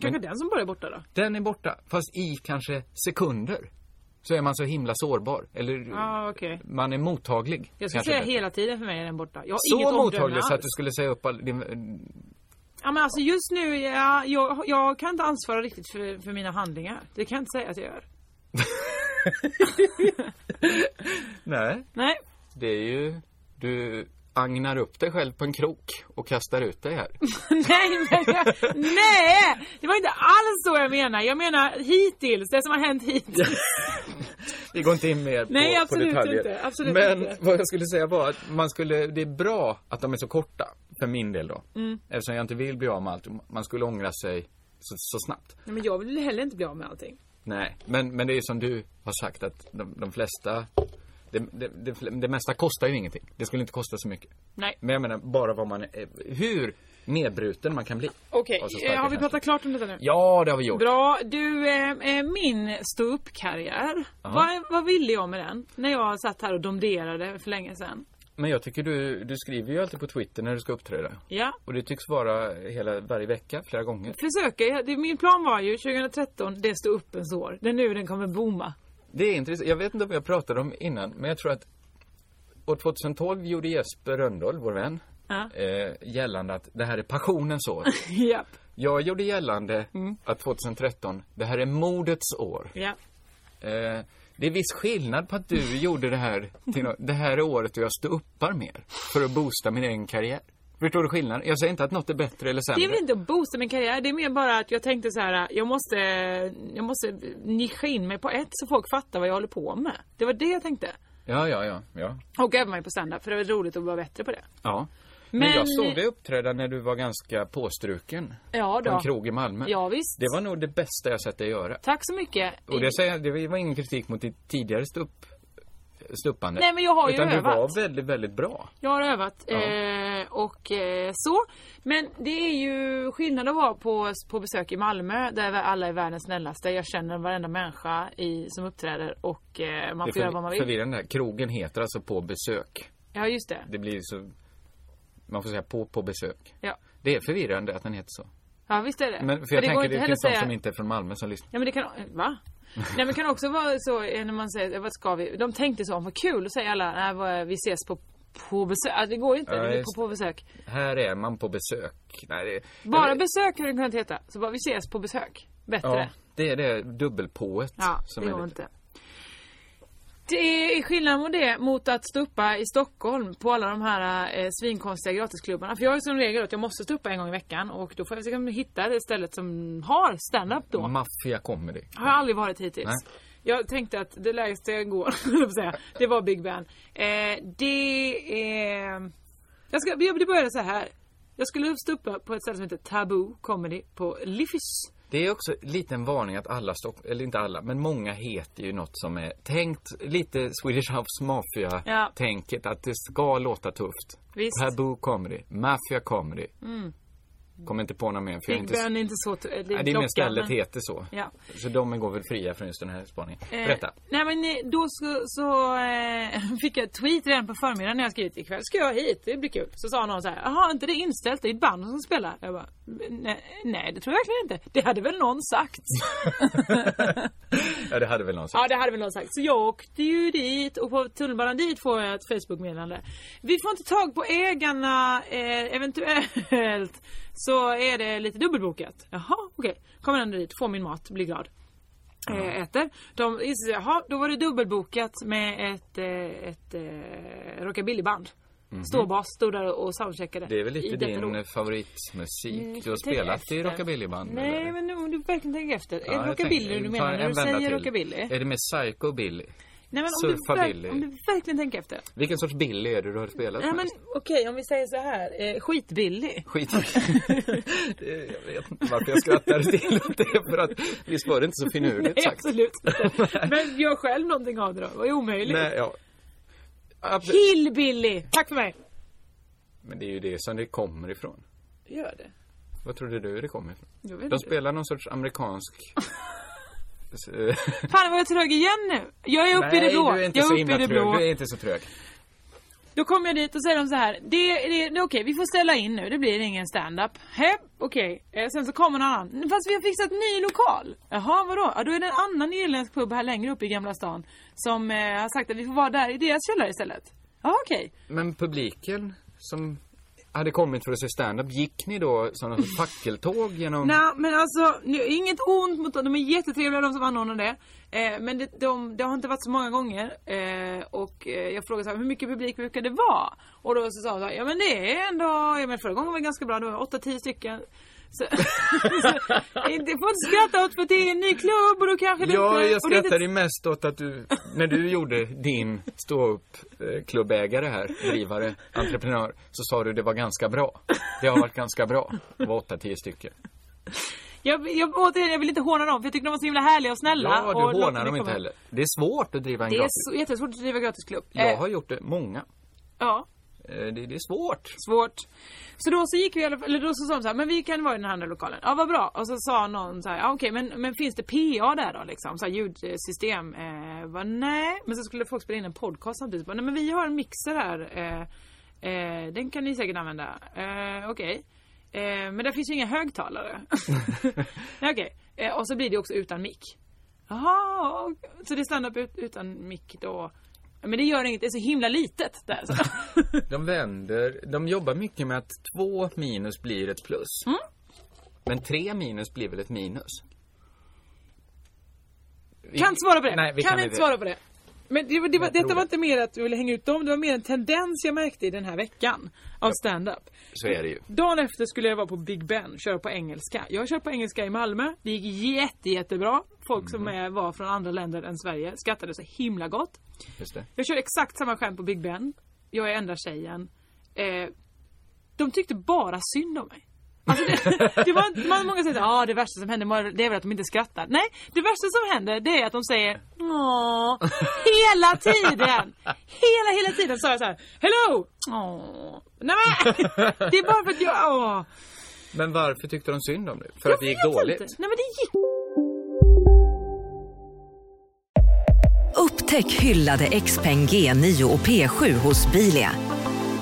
Kanske den som bara är borta då? Den är borta, fast i kanske sekunder. Så är man så himla sårbar. Eller Ja, ah, okej. man är mottaglig. Jag skulle kanske säga bättre. hela tiden för mig är den borta. Jag har inget Så omdöme mottaglig så att alls. du skulle säga upp all din... Ja, men alltså just nu, ja, jag, jag kan inte ansvara riktigt för, för mina handlingar. Det kan jag inte säga att jag gör. Nej. Nej, Det är ju... Du agnar upp dig själv på en krok och kastar ut dig här. nej, men jag, nej! Det var inte alls så jag menar. Jag menar hittills, det som har hänt hittills. Vi går inte in mer på, Nej, på absolut detaljer. inte, absolut Men inte. vad jag skulle säga var att man skulle, det är bra att de är så korta. För min del då. Mm. Eftersom jag inte vill bli av med allt. Man skulle ångra sig så, så snabbt. Nej, men jag vill heller inte bli av med allting. Nej, men, men det är ju som du har sagt att de, de flesta, det, det, det, det mesta kostar ju ingenting. Det skulle inte kosta så mycket. Nej. Men jag menar bara vad man, är- hur nedbruten man kan bli. Okej, Av så eh, starka har vi känslor. pratat klart om detta nu? Ja, det har vi gjort. Bra. Du, eh, eh, min ståuppkarriär. Vad, vad ville jag med den? När jag satt här och domderade för länge sedan. Men jag tycker du, du skriver ju alltid på Twitter när du ska uppträda. Ja. Och det tycks vara hela, varje vecka, flera gånger. Försöka. Jag- det- Min plan var ju 2013, det står upp en år. Det är nu den kommer booma. Det är intressant. Jag vet inte om jag pratade om innan, men jag tror att år 2012 gjorde Jesper Rönndahl, vår vän, Ja. eh, gällande att det här är passionens år. Japp. Jag gjorde gällande Mm. att 2013, det här är modets år. Ja. Eh, det är viss skillnad på att du gjorde det här till nå- det här är året då jag står uppar mer för att boosta min egen karriär. Förstår du skillnaden? Jag säger inte att något är bättre eller Det är sämre. väl inte att boosta min karriär, det är mer bara att jag tänkte så här, jag måste, jag måste nischa in mig på ett så folk fattar vad jag håller på med. Det var det jag tänkte. Ja, ja, ja, ja. Och öva mig på standup, för det var roligt att vara bättre på det. ja. Men, Men- jag såg dig uppträda när du var ganska påstruken Ja på en då. krog i Malmö. Ja, visst. Det var nog det bästa jag sett dig göra. Tack så mycket. Och det, säger, jag- det var ingen kritik mot ditt tidigare stupp, stuppande. Nej, men jag har ju Utan du övat. var väldigt, väldigt bra. Jag har övat eh, och eh, så. Men det är ju skillnad att vara på, på besök i Malmö där alla är världens snällaste. Jag känner varenda människa i, som uppträder och eh, man Det är får göra vad man förvi- vill. förvirrande. här. Krogen heter alltså på besök. Ja, just det. Det blir så... Man får säga på, på besök. Ja, Det är förvirrande att den heter så. ja visst är det. Men Men för jag det går tänker inte det heller finns de säga- som inte är från Malmö som lyssnar. Ja men det kan, va? Nej men det kan också vara så eh, när man säger, vad ska vi? De tänkte så, vad kul, och säger alla, nej vad- vi ses på, på besök. Alltså, det går ju inte, Ja, det blir just på, på besök. Här är man på besök. Nej, det... Bara besök hade det kunnat heta. Så bara, vi ses på besök. Bättre. Ja, det är det dubbelpået. Ja, som det är går lite- inte. Det är skillnad mot det mot att stuppa i Stockholm på alla de här eh, svinkonstiga gratisklubbarna. För jag har ju som regel att jag måste stuppa en gång i veckan och då får jag försöka hitta det stället som har stand-up då. Maffia comedy. Har jag aldrig varit hittills. Mm. Nej. Jag tänkte att det lägsta jag går, höll jag på att säga, det var Big Ben. Eh, det är... Jag ska, det började så här. Jag skulle stå uppe på ett ställe som heter Taboo Comedy på Liffys. Det är också lite en varning att alla Stock... eller inte alla, men många heter ju något som är tänkt lite Swedish House Ja. Mafia-tänket. Att det ska låta tufft. Visst. Mm. Taboo comedy, Mafia comedy. Kommer inte på något mer för jag är Big inte... Ben är inte så... Det är, Nej, det är mer klockan, stället men- heter så. Ja. Så de går väl fria från just den här spaningen. Eh, Berätta. Nej men eh, då så, så eh, fick jag ett tweet redan på förmiddagen när jag skrivit ikväll ska jag hit, det blir kul. Så sa någon så här, jaha är inte det inställt, det är ett band som spelar. Jag bara, nej, nej det tror jag verkligen inte. Det hade väl någon sagt. Ja, det hade väl någon sagt. Ja det hade väl någon sagt. Så jag åkte ju dit och på tunnelbanan dit får jag ett Facebook-meddelande. Vi får inte tag på ägarna eh, eventuellt så är det lite dubbelbokat. Jaha okej. Kommer ändå dit, får min mat, blir glad. eh, äter. De inser jaha, då var det dubbelbokat med ett, eh, ett eh, rockabillyband. Ståbas stod där och soundcheckade. Mhm. Det är väl lite i detta din då. favoritmusik. Du har Mm, Tänk spelat i efter. rockabillyband? Nej, eller? men nu, om du verkligen tänker efter. Ja, är jag det rockabilly tänker- du vi menar tar när en du vända säger till. rockabilly? Är det med psychobilly? Nej, men om du, surfabilly? verk- om du verkligen tänker efter. Vilken sorts billy är det du har spelat Nej, men mest? okej, om vi säger så här. Eh, skitbilly. Skit Det- Jag vet inte varför jag skrattade till det. För att visst var det inte så finurligt Nej, sagt? absolut inte. Men gör själv någonting av det då. Det är omöjligt. Nej, ja. Absolut. Hillbilly! Tack för mig. Men det är ju det som det kommer ifrån. Gör det. Vad trodde du det kom ifrån? Jag vet De inte. spelar någon sorts amerikansk... S- Fan vad jag är trög igen nu. Jag är uppe i det blå. du är inte jag så är uppe himla i det trög. blå. Du är inte så trög. Då kommer jag dit och säger de så här. Det, det, det, okej, vi får ställa in nu. Det blir ingen standup. Hä, okej. Eh, sen så kommer någon annan. Fast vi har fixat ny lokal. Jaha, vadå? Ja, då är det en annan irländsk pub här längre upp i Gamla stan. Som eh, har sagt att vi får vara där i deras källare istället. Ja, okej. Men publiken som hade kommit för att se stand-up, gick ni då som något sorts fackeltåg genom... Nej men alltså, nu, inget ont mot dem. De är jättetrevliga de som anordnar det. Eh, men det, de, det har inte varit så många gånger. Eh, och eh, jag frågade så här, hur mycket publik brukar det vara? Och då så sa de så här, ja men det är ändå, ja, men förra gången var det ganska bra, det var 8-10 stycken. Så, så, inte får inte skratta åt för att det är en ny klubb och då kanske det Ja, inte... jag och det är inte- skrattar ju mest åt att du, när du gjorde din ståuppklubbägare här, drivare, entreprenör, så sa du det var ganska bra. Det har varit ganska bra. Det var åtta, tio stycken. jag, jag, återigen, jag vill inte håna dem för jag tyckte de var så himla härliga och snälla. Ja, och du hånar låter mig dem inte komma. heller. Det är svårt att driva en Det är gratis. så, jättesvårt att driva gratisklubb. Jag Eh, har gjort det, många. ja. Eh, Det, det är svårt. Svårt. Så då så gick vi i alla fall, eller då så sa de så här, men vi kan vara i den här andra lokalen. Ja vad bra. Och så sa någon så här, ja okej men, men finns det PA där då liksom? Så här ljudsystem. Eh, bara, nej. Men så skulle folk spela in en podcast samtidigt. Bara, nej men vi har en mixer här. Eh, eh, den kan ni säkert använda. Eh, okej. Eh, men där finns ju inga högtalare. nej, okej. Eh, och så blir det också utan mick. Jaha, och- så det är standup ut, utan mick då. Men det gör inget, det är så himla litet där. Så. De vänder, de jobbar mycket med att två minus blir ett plus. Mm. Men tre minus blir väl ett minus? Vi- Kan inte svara på det. Nej, vi kan, kan inte svara på det. Men det, var- det, var- Jag tror detta var det. inte mer att du ville hänga ut dem. Det var mer en tendens jag märkte i den här veckan av stand-up. Så är det ju. Dagen efter skulle jag vara på Big Ben, köra på engelska. Jag kör på engelska i Malmö. Det gick jätte, jättebra. Folk Mhm. som är, var från andra länder än Sverige skrattade så himla gott. Just det. Jag kör exakt samma skämt på Big Ben. Jag är enda tjejen. Eh, de tyckte bara synd om mig. Alltså det, det var, inte- man, många säger att ah, det värsta som händer var- det är väl att de inte skrattar. Nej, det värsta som händer det är att de säger Åh, hela tiden! Hela, hela tiden sa jag så här, Hello! Åh, nej men! Det är bara för att jag, åh. Men varför tyckte de synd om det? För att det gick Jag vet dåligt? inte. Nej men det gick Upptäck hyllade XPeng G9 och P7 hos Bilia.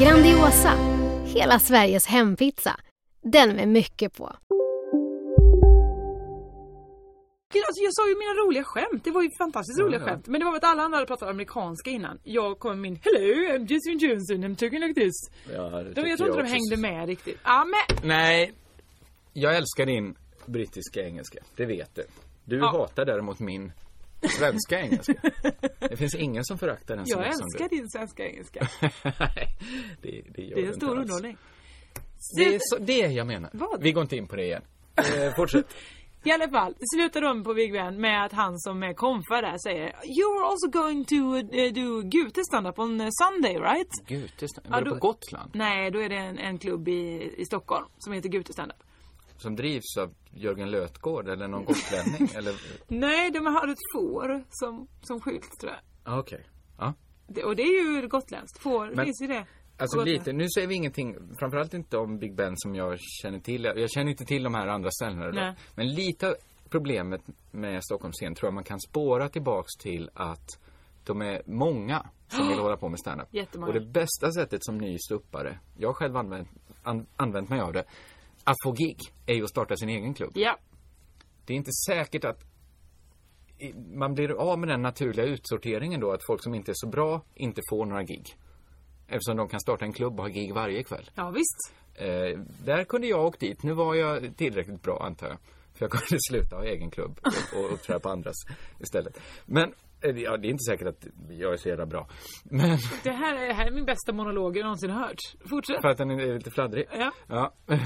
Grandiosa, hela Sveriges hempizza. Den med mycket på. Gud, Alltså jag sa ju mina roliga skämt, det var ju fantastiskt roliga ja. skämt. Men det var väl att alla andra hade pratat amerikanska innan. Jag kom med min Hello, I'm Jason Johnson, I'm talking like this. De, jag tror inte de hängde med riktigt. Ja men, Nej. Jag älskar din brittiska engelska. Det vet du. Du hatar däremot min svenska engelska. Det finns ingen som föraktar den så jag mycket som älskar du. din svenska engelska. Nej, det, det Det är gör du en inte stor alls. underhållning. Det är så, det jag menar. Vad? Vi går inte in på det igen. Eh, fortsätt. I alla fall, det slutar de på Big Ben med att han som är konfa där säger You're also going to eh, do Gute stand-up on eh, Sunday right? Gud, det är snart- Ja, Var du då- på Gotland? Nej, då är det en, en klubb i, i Stockholm som heter Gute stand-up. som drivs av Jörgen Lötgård eller någon gotlänning? eller? Nej, de har ett får som, som skylt tror jag. Ja, Okej. Ja. Det, och det är ju gotländskt. Får, Men- finns ju det. Alltså På Gotland. lite, nu säger vi ingenting, framförallt inte om Big Ben som jag känner till. Jag jag känner inte till de här andra ställena idag. Nej. Men lite av problemet med Stockholms scen tror jag man kan spåra tillbaks till att de är många som vill hålla på med standup. Jättemånga. Och det bästa sättet som ny ståuppare, jag har själv använt, an, använt mig av det, att få gig är ju att starta sin egen klubb. Ja. Det är inte säkert att i- man blir av med den naturliga utsorteringen då att folk som inte är så bra inte får några gig. Eftersom de kan starta en klubb och ha gig varje kväll. Ja, visst. Eh, där kunde jag åkt dit. Nu var jag tillräckligt bra antar jag. För jag kunde sluta ha egen klubb och, och uppträda på andras istället. Men eh, ja, det är inte säkert att jag är så jävla bra. Men Det här, är- här är min bästa monolog jag någonsin hört. Fortsätt. för att den är lite fladdrig. Ja. Ja.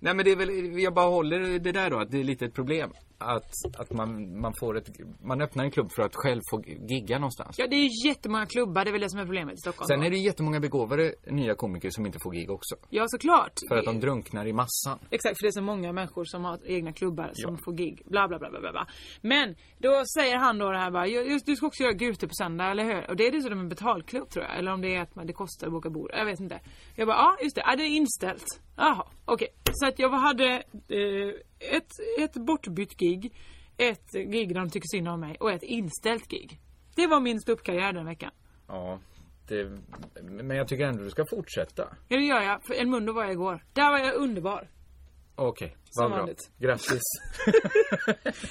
Nej men det är väl, jag bara håller det där då, att det är lite ett problem. Att, att man, man får ett, man öppnar en klubb för att själv få gigga någonstans. Ja, det är ju jättemånga klubbar. Det är väl det som är problemet i Stockholm. Sen är det ju jättemånga begåvade nya komiker som inte får gig också. Ja, såklart. För att de drunknar i massan. Exakt, för det är så många människor som har egna klubbar som får gig. Bla, bla, bla, bla, bla, bla. Men då säger han då det här bara, "Ju- just, du ska också göra Gute på söndag, eller hur? Och det är dessutom en betalklubb tror jag. Eller om det är att man, det kostar att boka bord. Jag vet inte. Jag bara, ja just det. Ja, det är inställt. Jaha, okej. Så att jag hade eh, ett, ett bortbytt gig, ett gig där de tycker synd om mig och ett inställt gig. Det var min ståuppkarriär den veckan. Ja. Det, men jag tycker ändå du ska fortsätta. Ja, det gör jag. För Elmundo var jag igår. Där var jag underbar. Okej, Som vad bra. vanligt. Grattis.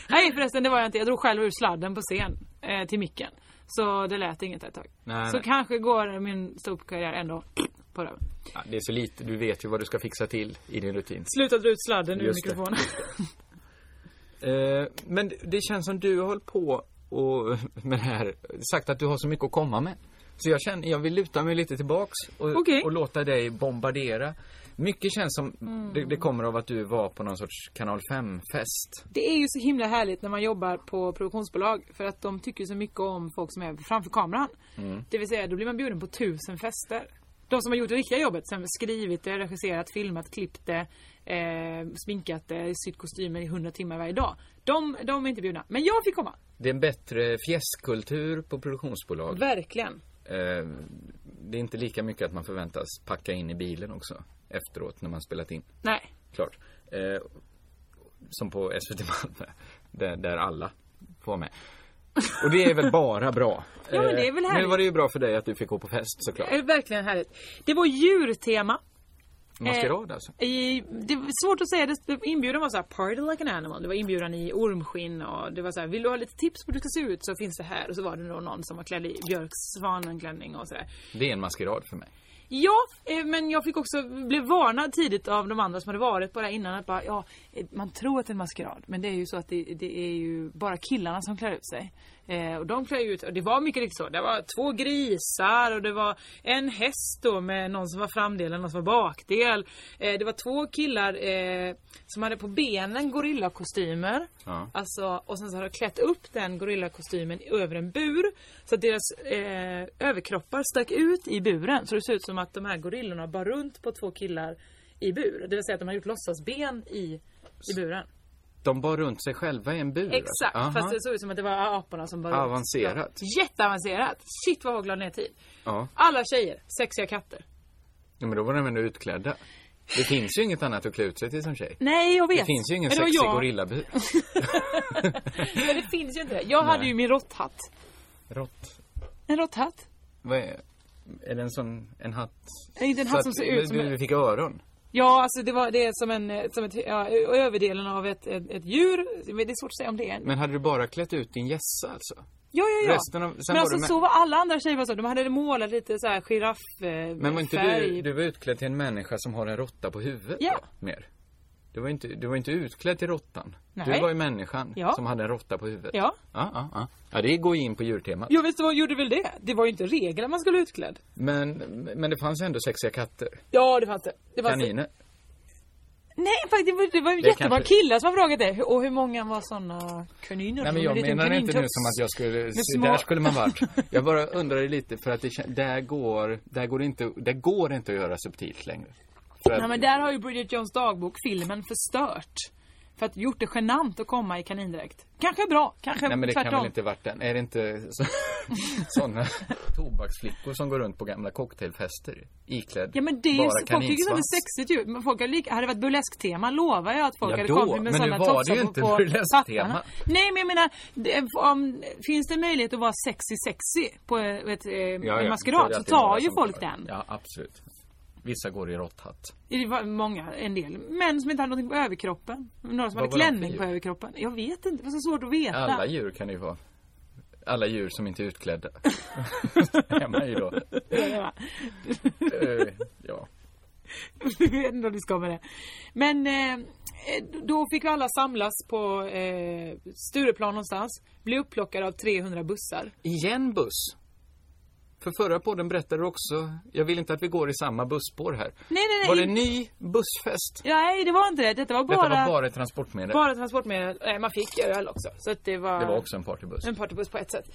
Nej förresten, det var jag inte. Jag drog själv ur sladden på scen eh, till micken. Så det lät inget ett tag. Nej, så nej. kanske går min ståuppkarriär ändå på röven. Ja, det är så lite, du vet ju vad du ska fixa till i din rutin. Sluta dra ut sladden ur Just det. mikrofonen. Eh, men det känns som du har hållit på och med det här sagt att du har så mycket att komma med. Så jag känner, jag vill luta mig lite tillbaks och, Okej. och låta dig bombardera. Mycket känns som det, det kommer av att du var på någon sorts kanal 5-fest. Det är ju så himla härligt när man jobbar på produktionsbolag för att de tycker så mycket om folk som är framför kameran. Mm. Det vill säga, då blir man bjuden på tusen fester. De som har gjort det riktiga jobbet, som skrivit det, regisserat, filmat, klippt det, eh, sminkat det, sytt kostymer i hundra timmar varje dag. De, de är inte bjudna. Men jag fick komma. Det är en bättre fjäskultur på produktionsbolag. Verkligen. Eh, det är inte lika mycket att man förväntas packa in i bilen också efteråt när man spelat in. Nej. klart. Eh, som på SVT Malmö, där, där alla får vara med. Och det är väl bara bra. Ja, men det är väl Eh, Nu härligt. Eh, var det ju bra för dig att du fick gå på fest såklart. Är det verkligen härligt. Det var djurtema. Maskerad alltså. I, det var svårt att säga, det, inbjudan var så här party like an animal. Det var inbjudan i ormskinn och det var så här, vill du ha lite tips på hur du ska se ut så finns det här. Och så var det då någon som var klädd i Björks svanenklänning och sådär. Det är en maskerad för mig. Ja, eh, men jag fick också bli varnad tidigt av de andra som hade varit på det här innan att bara, ja, eh, man tror att det är en maskerad. Men det är ju så att det, det är ju bara killarna som klär ut sig. Eh, och de klär ju ut, och det var mycket riktigt så. Det var två grisar och det var en häst då med någon som var framdel och någon som var bakdel. Eh, det var två killar eh, som hade på benen gorillakostymer. Ja. Alltså, och sen så har de klätt upp den gorillakostymen över en bur så att deras eh, överkroppar stack ut i buren. Så det ser ut som att de här gorillorna bar runt på två killar i bur. Det vill säga att de har gjort låtsasben i, i buren. De bar runt sig själva i en bur. Exakt, alltså. Aha. fast det såg ut som att det var aporna som bar runt. Avancerat. Ja, jätteavancerat. Shit vad jag glad ner tid. Ja. Alla tjejer, sexiga katter. ja, men då var de ändå utklädda. Det finns ju inget annat att klä ut sig till som tjej. Nej, jag vet. Det finns ju ingen Men det var sexig jag. gorillabur. Men det finns ju inte det. Jag hade Nej. ju min råtthatt. Rått. En råtthatt. Vad är, är det en sån, en hatt? Nej, inte en Så hatt att som ser ut som du, en- du fick öron. Ja, alltså det var det är som en, eh, som ett, ja, ö- överdelen av ett, ett, ett djur. Men det är svårt att säga om det är en. Men hade du bara klätt ut din gässa alltså? ja, ja, ja. resten av- sen men var alltså du med- så var alla andra tjejer var så. De hade målat lite så här giraff, eh, Men var inte färg. du, du var utklädd till en människa som har en råtta på huvudet Ja. då, mer? Du var, inte, du var inte utklädd till råttan. Du Nej. var ju människan Ja. som hade en råtta på huvudet. Ja. Ja, ja, ja. ja det går ju in på djurtemat. Ja visst det var, gjorde väl det. Det var ju inte regeln att man skulle vara utklädd. Men, men det fanns ändå sexiga katter. Ja det fanns det. det fanns det. Kaniner. Nej faktiskt det var, det var Det jättemånga kanske- killar som har frågat det. Hur- Och hur många var såna kaniner? Nej Som men en jag liten menar inte nu kanintupp. som att jag skulle, typ små- där skulle man varit. Jag bara undrade lite för att det, kän- där går, där går det inte, där går det inte att göra subtilt längre. För att- Nej men där har ju Bridget Jones dagbok filmen förstört. För att gjort det genant att komma i kanindräkt. Kanske bra, kanske Nej men det tvärtom. kan väl inte varit den. Är det inte så, sådana tobaksflickor som går runt på gamla cocktailfester iklädd Ja men det är ju, bara folk tycker sånt kaninsvans? är sexigt ju. Men folk hade, lika, hade det varit burlesktema lovar jag att folk Ja, hade då, kommit med men nu sådana var det ju tofsar på- inte på burlesktema. pattarna. Nej men jag menar, det, om, finns det möjlighet att vara sexy sexy på eh, ett, eh, Ja, en ja, det är maskerad så alltid några tar ju som folk tar. den. Ja absolut. Vissa går i råtthatt. Det var många, en del. Män som inte hade någonting på överkroppen. Några som hade Vad var de för klänning på djur? överkroppen. Jag vet inte, det var så svårt att veta. Alla djur kan det ju vara. Alla djur som inte är utklädda. är man ju då. Eh, ja. Jag vet inte om du ska med det. Men eh, då fick vi alla samlas på eh, Stureplan någonstans. Bli upplockade av 300 bussar. Igen buss. För förra podden berättade du också, jag vill inte att vi går i samma busspår här. Nej, nej, nej. Var det en ny bussfest? Nej, det var inte det. Detta var bara, Detta var bara ett transportmedel. bara transportmedel. Eh, man fick öl också. Så att det var... Det var också en partybuss. En partybuss på ett sätt.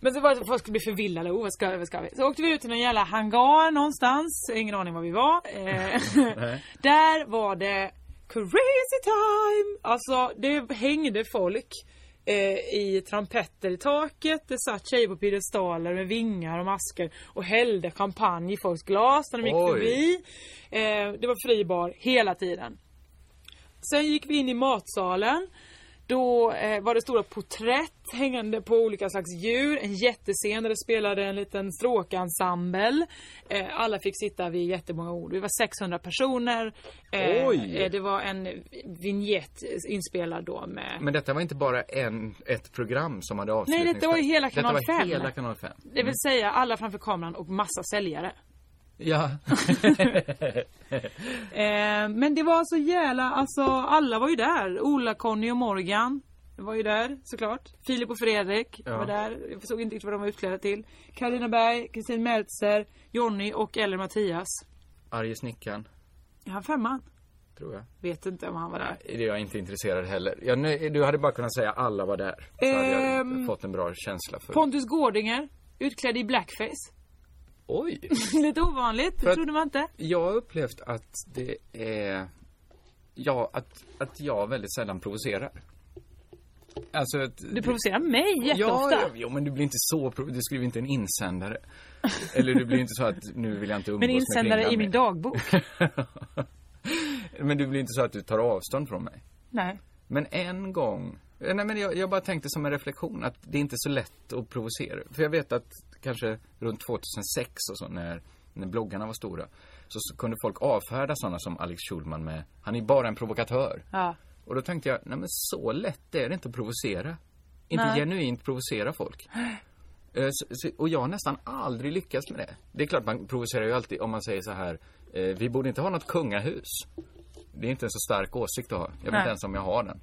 Men så var det att folk skulle bli förvillade. Oh, vad ska vi, vad ska vi? Så åkte vi ut till någon jävla hangar någonstans. Ingen aning var vi var. Eh, Nej. där var det crazy time! Alltså, det hängde folk. eh, I trumpetter i taket, det satt tjejer på piedestaler med vingar och masker och hällde champagne i folks glas när de gick Oj. förbi. Eh, Det var fri bar hela tiden. Sen gick vi in i matsalen. Då eh, var det stora porträtt hängande på olika slags djur. En jättescen där det spelade en liten stråkensemble. Eh, alla fick sitta vid jättemånga ord. Vi var 600 personer. Oj. eh, det var en vignett inspelad då med... Men detta var inte bara en, ett program som hade avslutning. Nej, detta var ju hela Kanal Detta var 5. hela Kanal Mm. 5. Det vill säga alla framför kameran och massa säljare. Ja. Eh, men det var så jävla, alltså alla var ju där. Ola, Conny och Morgan var ju där såklart. Filip och Fredrik Ja. var där. Jag förstod inte riktigt vad de var utklädda till. Karolina Berg, Kristin Meltzer, Jonny och eller Mattias. Arge snickaren, Är han femman? tror jag. Vet inte om han var där. Det är jag inte intresserad heller. Jag, nö- du hade bara kunnat säga alla var där. Så hade Ehm, jag fått en bra känsla för Pontus Gårdinger, utklädd i blackface. Oj! Lite ovanligt, För det att- trodde man inte. Jag har upplevt att det är... Ja, att, att jag väldigt sällan provocerar. Alltså att... Du provocerar mig jätteofta. Ja, jo, men du blir inte så... prov- Du skriver inte en insändare. Eller du blir inte så att nu vill jag inte umgås Men med insändare kvinnan i min mer. dagbok. Men du blir inte så att du tar avstånd från mig. Nej. Men en gång, eh, nej men jag, jag bara tänkte som en reflektion att det är inte är så lätt att provocera. För jag vet att kanske runt 2006 och så när, när bloggarna var stora så, så kunde folk avfärda sådana som Alex Schulman med, han är bara en provokatör. Ja. Och då tänkte jag, nej men så lätt är det inte att provocera. Inte Nej. genuint provocera folk. Eh, så- så- Och jag har nästan aldrig lyckats med det. Det är klart man provocerar ju alltid om man säger så här, eh, vi borde inte ha något kungahus. Det är inte en så stark åsikt att ha. Jag vet Nej. inte ens om jag har den.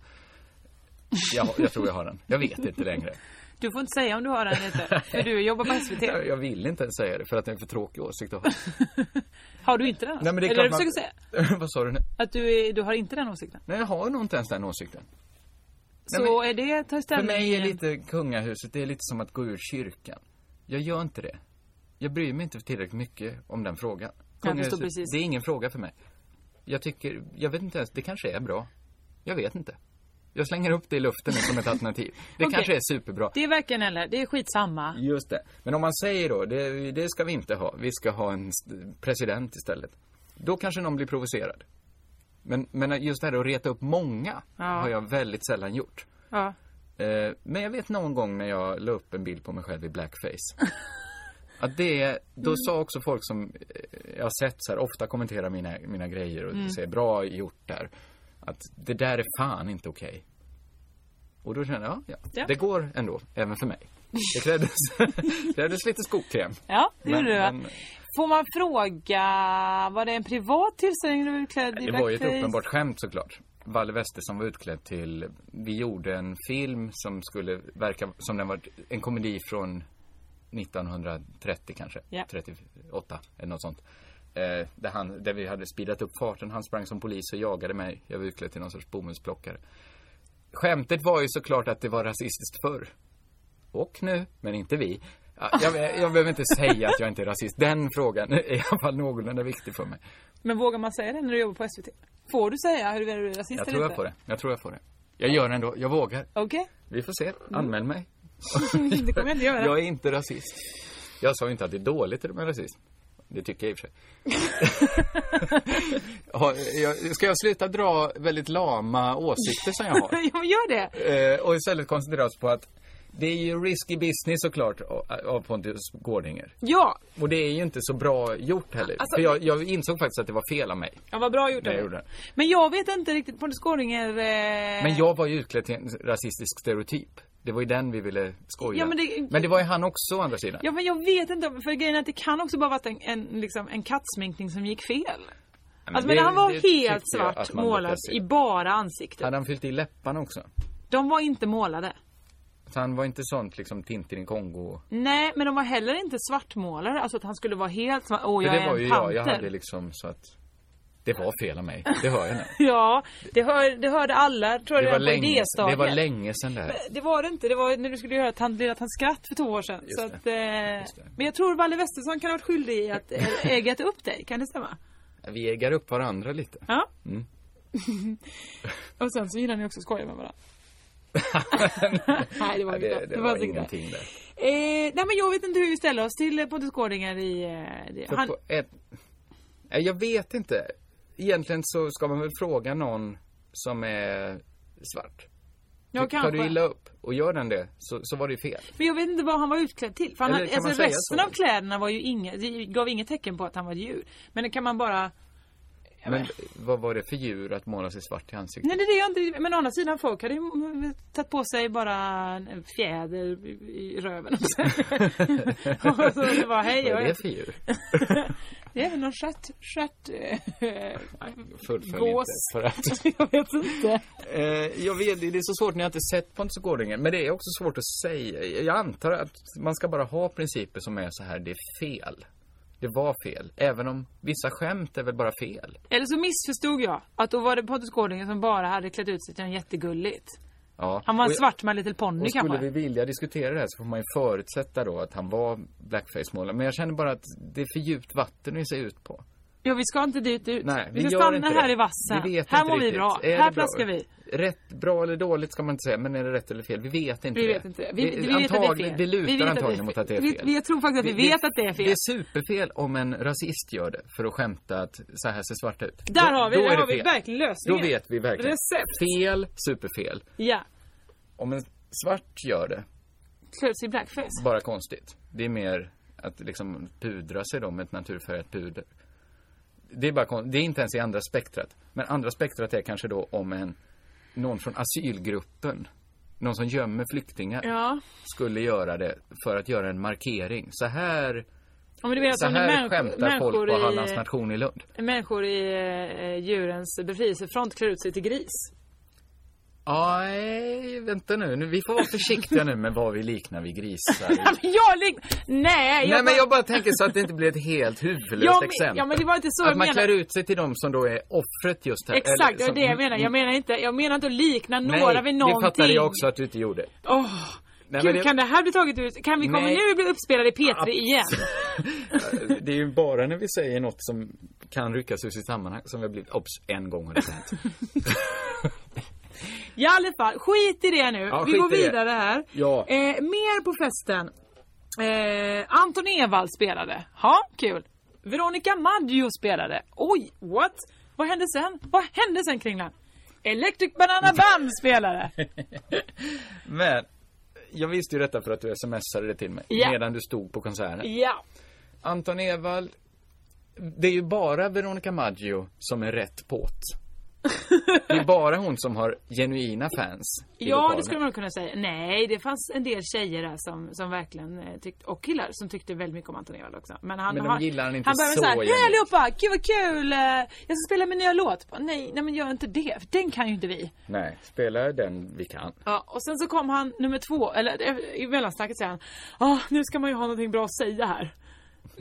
Jag, jag tror jag har den. Jag vet inte längre. Du får inte säga om du har den eller inte. För du jobbar på SVT. Jag, jag vill inte ens säga det för att det är en för tråkig åsikt att ha. Har du inte den? Nej, men det är eller du klart försöker man- säga Vad sa du nu? att du, är, du har inte den åsikten? Nej, jag har nog inte ens den åsikten. Så Nej, men- är det ta För ställning? mig är lite kungahuset, det är lite som att gå ur kyrkan. Jag gör inte det. Jag bryr mig inte tillräckligt mycket om den frågan. förstår Kungahuset, precis. det är ingen fråga för mig. Jag tycker, jag vet inte ens, det kanske är bra. Jag vet inte. Jag slänger upp det i luften nu som ett alternativ. Det Okej. kanske är superbra. Det är verkligen eller, det är skitsamma. Just det. Men om man säger då, det, det ska vi inte ha. Vi ska ha en st- president istället. Då kanske någon blir provocerad. Men, men just det här att reta upp många Ja. har jag väldigt sällan gjort. Ja. Eh, men jag vet någon gång när jag la upp en bild på mig själv i blackface. Att det, då Mm. sa också folk som eh, jag har sett så här, ofta kommentera mina, mina grejer och Mm. säger bra gjort där. Att det där är fan inte okej. Och då kände jag, ja, Ja. ja, det går ändå, även för mig. Det krävdes, det krävdes lite skokräm. Ja, det Men- gjorde du va? men- Får man fråga, var det en privat tillställning du var utklädd i Det var ju ett blackface? uppenbart skämt såklart. Valle Wester som var utklädd till, vi gjorde en film som skulle verka som den var en komedi från 1930 kanske, Ja. 38 eller något sånt. Eh, där, han, där vi hade speedat upp farten, han sprang som polis och jagade mig. Jag var utklädd till någon sorts bomullsplockare. Skämtet var ju såklart att det var rasistiskt förr. Och nu, men inte vi. Ja, jag, jag behöver inte säga att jag inte är rasist. Den frågan är i alla fall någorlunda viktig för mig. Men vågar man säga det när du jobbar på SVT? Får du säga huruvida du är rasist Jag eller tror jag inte? får det. Jag tror jag får det. Jag gör det ändå. Jag vågar. Okej. Vi får se. Anmäl mig. Det kommer Mm. jag inte göra. Jag är inte rasist. Jag sa ju inte att det är dåligt med rasism. Det tycker jag i och för sig. Har- jag- Ska jag sluta dra väldigt lama åsikter som jag har? ja, men gör det. Eh, och istället koncentrera oss på att det är ju risky business såklart av- av Pontus Gårdinger. Ja. Och det är ju inte så bra gjort heller. Alltså- För jag, jag insåg faktiskt att det var fel av mig. Ja, vad bra gjort när av dig. jag gjorde det. Men jag vet inte riktigt. Pontus Gårdinger... Eh... Men jag var ju utklädd till en rasistisk stereotyp. Det var ju den vi ville skoja. Ja, men det- var ju han också å andra sidan. Ja, men jag vet inte. om- För grejen är att det kan också bara varit en, en, liksom, en kattsminkning som gick fel. men alltså, men det- han var det tycker jag helt att svart man målad lyckas se. i bara ansiktet. Hade han fyllt i läpparna också? De var inte målade. Så han var inte sånt liksom Tintin i Kongo. Nej, men de var heller inte svartmålade. Alltså att han skulle vara helt svart. Åh, För jag det var är ju en jag. panter. Jag hade liksom så att det var fel av mig. Det hör jag nu. Ja, det, hör, det hörde alla tror jag Det redan var, på länge, idéstadiet. Eh, det var länge sedan det här. Det var det inte. Det var när du skulle göra ett hand- Lilla Tant skratt för två år sedan. Just Så det. att, eh, men jag tror Valle Westesson kan ha varit skyldig i att eh, ägat upp dig. Kan det stämma? Vi äggar upp varandra lite. Ja. Mm. Och sen så gillar ni också att skoja med varandra. Nej, det var Ja, inte. det, Det, det var var inte det. ingenting där. Eh, nej men jag vet inte hur vi ställer oss till eh, Pontus Gårdinger i... Eh, det. För Han, på ett... Nej, Jag vet inte. Egentligen så ska man väl fråga någon som är svart. Ja, Ty- Tar kanske. du illa upp och gör den det så, så var det ju fel. men jag vet inte vad han var utklädd till. För han, Eller kan alltså, man säga resten så? av kläderna var ju inga, det gav inget tecken på att han var ett djur. Men det kan man bara... Men vad var det för djur att måla sig svart i ansiktet? Nej det är det jag inte... Men å andra sidan folk hade ju mm, tagit på sig bara en fjäder i- i röven. och så- och så det var hej vad är jag det för djur? Det är väl någon stjärt... stjärt eh, Fullfölj Gås. inte. För att... jag vet inte. Eh, jag vet, det är så svårt, ni har inte sett Pontus och Gårdinger. Men det är också svårt att säga. Jag antar att man ska bara ha principer som är så här, det är fel. Det var fel. Även om vissa skämt är väl bara fel. Eller så missförstod jag. Att då var det Pontus Gårdinger som bara hade klätt ut sig till en jättegulligt. Ja. Han var Och en jag- svart med en liten ponny Och skulle kanske. vi vilja diskutera det här så får man ju förutsätta då att han var blackface-målare. Men jag känner bara att det är för djupt vatten att se ut på. Ja, vi ska inte dit ut. Nej, vi vi ska gör stanna inte här det. i vassen. Vi vet här inte mår vi riktigt. bra. Är det här bra? plaskar vi. Rätt, bra eller dåligt ska man inte säga, men är det rätt eller fel? Vi vet inte Vi det. vet inte. Vi, vi vet att det är antagligen, fel. det vi vet lutar att antagligen det är mot fel. att det är Vi, fel. vi, jag tror faktiskt att vi, vet att det är fel. Det är superfel om en rasist gör det för att skämta att så här ser svart ut. Där har vi, då är där det har vi fel. verkligen lösningen. Då vet vi verkligen. Recept. Fel, superfel. Ja. Om en svart gör det, Klöds i blackface. bara konstigt. Det är mer att liksom pudra sig då med ett naturfärgat puder. Det är, bara, kon- det är inte ens i andra spektrat. Men andra spektrat är kanske då om en, någon från asylgruppen, någon som gömmer flyktingar, Ja. skulle göra det för att göra en markering. Så här, Om du menar att så om det är här människor, skämtar folk människor, på Hallands i, nation i Lund. människor i eh, djurens befrielsefront klär ut sig till gris. Aj, vänta nu. nu. Vi får vara försiktiga nu med vad vi liknar vid grisar. Ja, men jag lik... Nej, Nej, men jag bara tänker så att det inte blir ett helt huvudlöst Ja, men- exempel. ja, men det var inte så att jag man menade. klär ut sig till de som då är offret just här. Exakt, det Eller är som- det jag menar. Jag menar inte, jag menar inte att likna några vid Nej, någonting. det fattade jag också att du inte gjorde. Åh, Nej, Gud, men det- kan det här bli taget ut? Kan vi komma Nej. nu och bli uppspelade i P3 igen? Det är ju bara när vi säger något som kan ryckas ur sitt sammanhang som vi har blivit... Obs, en gång har det hänt. I alla fall, skit i det nu. Ja, vi skit går i det. vidare här. Ja. Eh, mer på festen. Eh, Anton Ewald spelade. Ja, kul. Veronica Maggio spelade. Oj, what? Vad hände sen? Vad hände sen Kringlan? Electric Banana Band spelade. Men jag visste ju detta för att du smsade det till mig Ja. medan du stod på konserten. ja. Anton Ewald, det är ju bara Veronica Maggio som är rätt påt. Det är bara hon som har genuina fans i Ja, lokalen. det skulle man kunna säga. Nej, det fanns en del tjejer där som, som verkligen eh, tyckte, och killar som tyckte väldigt mycket om Anton Ewald också. Men han Men de har, gillar han inte han börjar med så såhär, hej genuint." allihopa, gud vad kul, eh, jag ska spela min nya låt. Bara, Nej, nej men gör inte det, för den kan ju inte vi. Nej, spela den vi kan. Ja, och sen så kom han nummer två, eller eh, i mellansnacket säger han, ah, nu ska man ju ha någonting bra att säga här.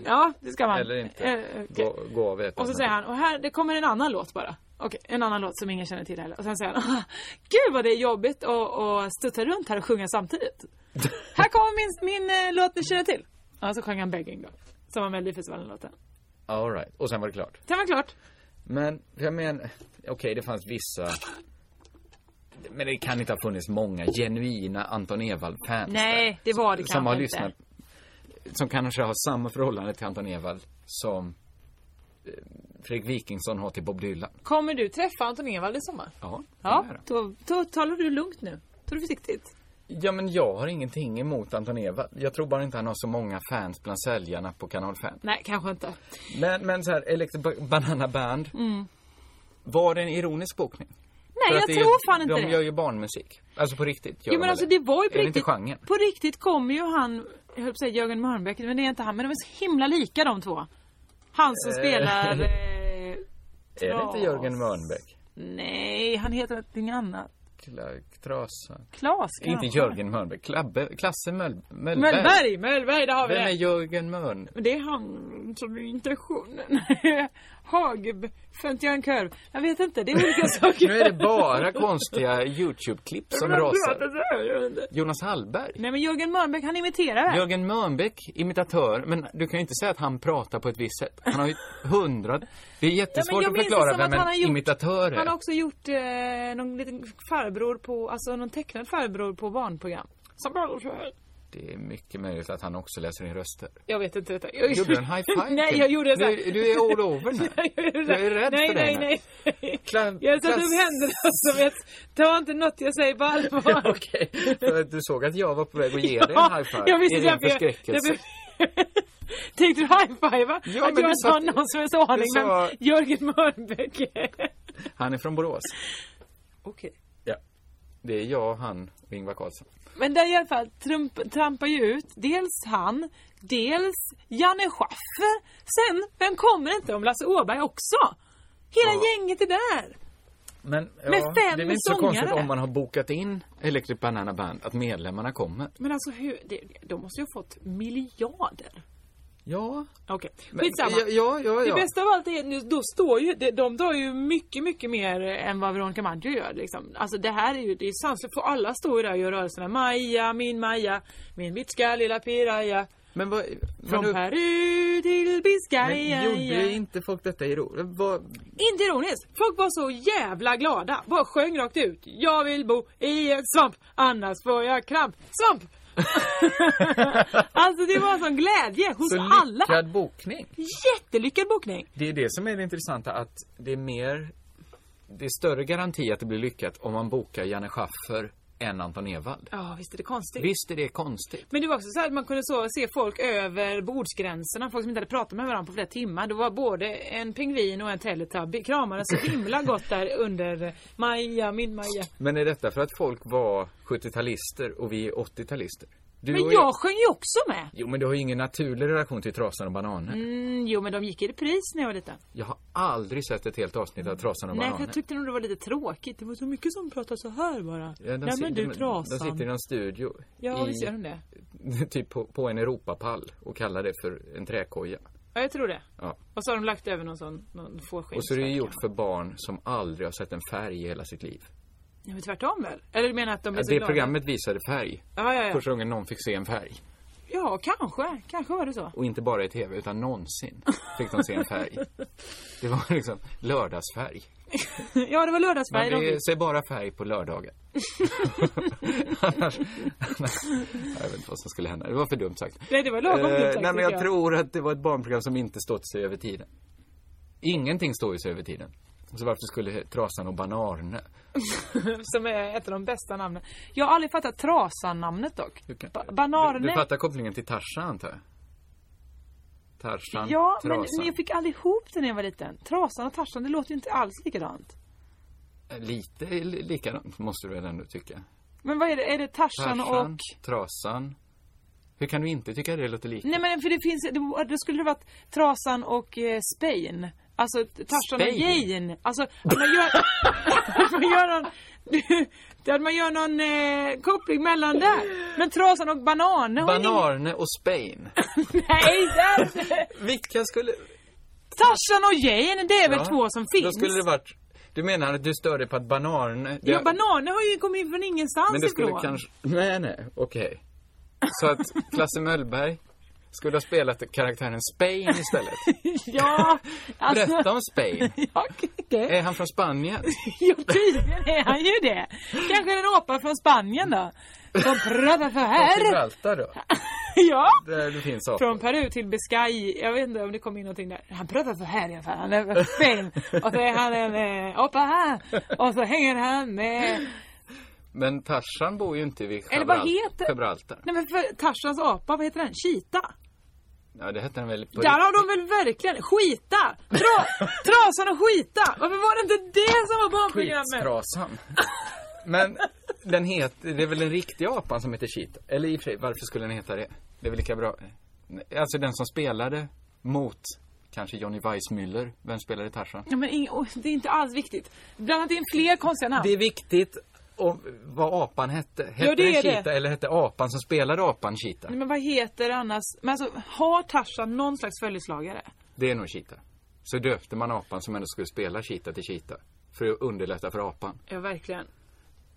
Ja, det ska man. Eller inte. Eh, okej. Gå, gå av ett Och så säger han, och här, det kommer en annan låt bara. Okej, en annan låt som ingen känner till heller. Och sen säger han, "Ah, gud vad det är jobbigt att, att studsa runt här och sjunga samtidigt. här kommer min, min eh, låt ni känner till. Ja, så sjöng han Begging då. Som var Melodifestivalen-låten. All right. Och sen var det klart. Sen var det klart. Men jag menar, okej det fanns vissa men det kan inte ha funnits många genuina Anton Ewald-fans Nej, det var det kanske som har inte. lyssnat. Som kanske har samma förhållande till Anton Ewald som eh, Fredrik Wikingsson har till Bob Dylan. Kommer du träffa Anton Ewald i sommar? Ja. Ja, då, då talar du lugnt nu. Tar du försiktigt. ja, men jag har ingenting emot Anton Ewald. Jag tror bara inte han har så många fans bland säljarna på Kanal 5. Nej, kanske inte. Men, men så här, Electric Ba- Banana Band. Mm. Var det en ironisk bokning? Nej, För jag att det är- tror fan inte de det. De gör ju barnmusik. Alltså på riktigt. gör Jo men de alltså det var ju på Är det inte riktigt. genren? På riktigt kommer ju han, jag höll på att säga Jörgen Mörnbäck, men det är inte han. Men de är så himla lika de två. Han som Eh, spelar... är Eh, Är det inte Tras? Jörgen Mörnbäck? Nej, han heter någonting annat. Kla- Trasa? Klas kanske? Inte Jörgen Mörnbäck. Klabbe, Klasse Möll, Möllberg. Möllberg! Möllberg, där har vi Vem är det. Jörgen Mörn? Men det är han som är intentionen. Hageb, Föntiankör. Jag vet inte, det är olika saker. Nu är det bara konstiga YouTube-klipp som Men de rasar. pratar så här, jag vet inte. Jonas Hallberg. Nej men Jörgen Mörnbäck, han imiterar här. Jörgen Mörnbäck, imitatör. Men du kan ju inte säga att han pratar på ett visst sätt. Han har ju hundra... Det är Ja, men jättesvårt jag att minns det förklara som att vem han har en gjort- imitatör är. Han har också gjort eh, någon liten farbror på, alltså någon tecknad farbror på barnprogram. Som bara så här. Det är mycket möjligt att han också läser in röster. Jag vet inte detta. Gjorde du en high five till Nej, mig? jag gjorde så här. Du, du är all over nu. Jag gjorde så Jag här. är rädd nej, för nej, dig nej, nej. Kla- Jag satte klass- upp händerna som ett, ta inte något jag säger på allvar. Okej, för att du såg att jag var på väg att ge dig en high five. jag visste I det. ren Jag, jag, förskräckelse. Tänkte du high-fivea? Ja, att men jag du sa satt- någon som är så aning du sa- vem Jörgen Mörnbäck är. Han är från Borås. Okej. Ja. Det är jag, han och Ingvar Carlsson. Men där i alla fall trump, trampar ju ut dels han, dels Janne Schaffer. Sen, vem kommer inte om Lasse Åberg också? Hela gänget är där. Men ja, Med det fem är väl inte så sångare. konstigt om man har bokat in Electric Banana Band att medlemmarna kommer. Men alltså hur, det, de måste ju ha fått miljarder. Ja. Okej, Men- skitsamma. ja, ja, ja, ja. Det bästa av allt är att nu- då står ju, de, de drar ju mycket, mycket mer än vad Veronica Maggio gör liksom. Alltså det här är ju, det är sanslöst. För alla står ju där och gör rörelserna. Maja, min Maja, min bitska lilla piraya. Men vad... Från men, Peru till Biscaya. men gjorde inte folk detta i ro? Vad, Inte ironiskt. Folk var så jävla glada. Bara sjöng rakt ut. Jag vill bo i en svamp, annars får jag kramp. Svamp! alltså det var en sån glädje hos så alla. lyckad bokning. Jättelyckad bokning. Det är det som är det intressanta att det är mer... Det är större garanti att det blir lyckat om man bokar Janne Schaffer än Anton Ewald. Ja, visst är det konstigt. Visst är det konstigt? Men det var också så här att man kunde så se folk över bordsgränserna. Folk som inte hade pratat med varandra på flera timmar. Det var både en pingvin och en teletubby. Kramades så himla gott där under Maja, min Maja. Men är detta för att folk var 70-talister och vi är 80-talister? Du Men och jag sjöng ju också med. Jo, men du har ju ingen naturlig relation till Trasan och Bananer. Mm, jo men de gick i repris när jag var liten. Jag har aldrig sett ett helt avsnitt av Trasan Mm. och Nej, för Bananer. jag tyckte nog det var lite tråkigt. Det var så mycket som pratade så här bara. Ja, de Nej sit- men du de- De trasan. sitter i någon studio. Ja, i, visst gör de det. Typ på, på en Europapall och kallar det för en träkoja. Ja, jag tror det. Ja. Och så har de lagt över någon sån, någon fårskinnsverk. Och så är det ju gjort för barn som aldrig har sett en färg i hela sitt liv. Ja, men tvärtom väl? Eller du menar att de är Ja, så det glada? programmet visade färg. Ja, ja, ja. Första gången någon fick se en färg. Ja, kanske. Kanske var det så. Och inte bara i tv, utan någonsin fick de se en färg. Det var liksom lördagsfärg. ja, det var lördagsfärg. Man de vill fick. se bara färg på lördagen. annars, annars, jag vet inte vad som skulle hända. Det var för dumt sagt. Nej, det var lagom dumt sagt, Eh, nej, men tycker jag, jag. tror att det var ett barnprogram som inte stått sig över tiden. Ingenting står ju sig över tiden. Så varför skulle Trasan och Banarne? Som är ett av de bästa namnen. Jag har aldrig fattat Trasan-namnet dock. Du kan- Ba- Du, du Banarne. fattar kopplingen till Tarzan antar jag? Tarzan, Ja, men, Trasan. men jag fick aldrig ihop det när jag var liten. Trasan och Tarzan, det låter ju inte alls likadant. Eh, Lite li- likadant måste du väl ändå tycka? Men vad är det? Är det Tarzan och... Trasan. Hur kan du inte tycka det låter lika? Nej men för det finns, det, då skulle det varit Trasan och eh, Spain. Alltså Tarzan och Spain. Jane. Alltså att man gör, att man gör någon, att man gör någon eh, koppling mellan där. Men Trasan och Banan. har ju ingen- Banarne och Spain. Nej, där! Vilka skulle... Tarzan och Jane, det är väl två som Då finns? skulle det varit... Du menar att du stör dig på att Banarne... Ja, Bananer har ju kommit från ingenstans Men det skulle ifrån. kanske... Nej, nej, okej. Så att Klasse Möllberg skulle ha spelat karaktären Spain istället. Ja, alltså. Berätta om Spain. Är han från Spanien? Jo, tydligen är han ju det. Kanske en apa från Spanien då. Som pratar så Från här. Gibraltar då? Ja. Där eh, det finns apor. Från Peru till Biscay. Jag vet inte om det kom in någonting där. Han pratar så här i alla fall. Han är från Spanien. Och så är han en eh, apa här. Och så hänger han med. Men Tarzan bor ju inte vid Eller vad Gibraltar. heter- Gibraltar. Nej men för Tarzans apa, vad heter den? Cheetah. Ja, det hette han väl på Där har de väl verkligen skita! Tra, trasan och skita! Varför var det inte det som var barnprogrammet? Skitstrasan. Men den heter, det är väl den riktiga apan som heter Cheetah? Eller i och för sig, varför skulle den heta det? Det är väl lika bra. Alltså den som spelade mot kanske Johnny Weissmuller. Vem spelade Tarzan? Ja, men ing- oj, det är inte alls viktigt. Blanda in fler konstiga namn. Det är viktigt om vad apan hette. Hette Ja, det Mm. den är det. Cheetah eller hette apan som spelade apan Cheetah? Nej, Men vad heter det annars? Men alltså, har Tarzan någon slags följeslagare? Det är nog Cheetah. Så döpte man apan som ändå skulle spela Cheetah till Cheetah. För att underlätta för apan. Ja, verkligen.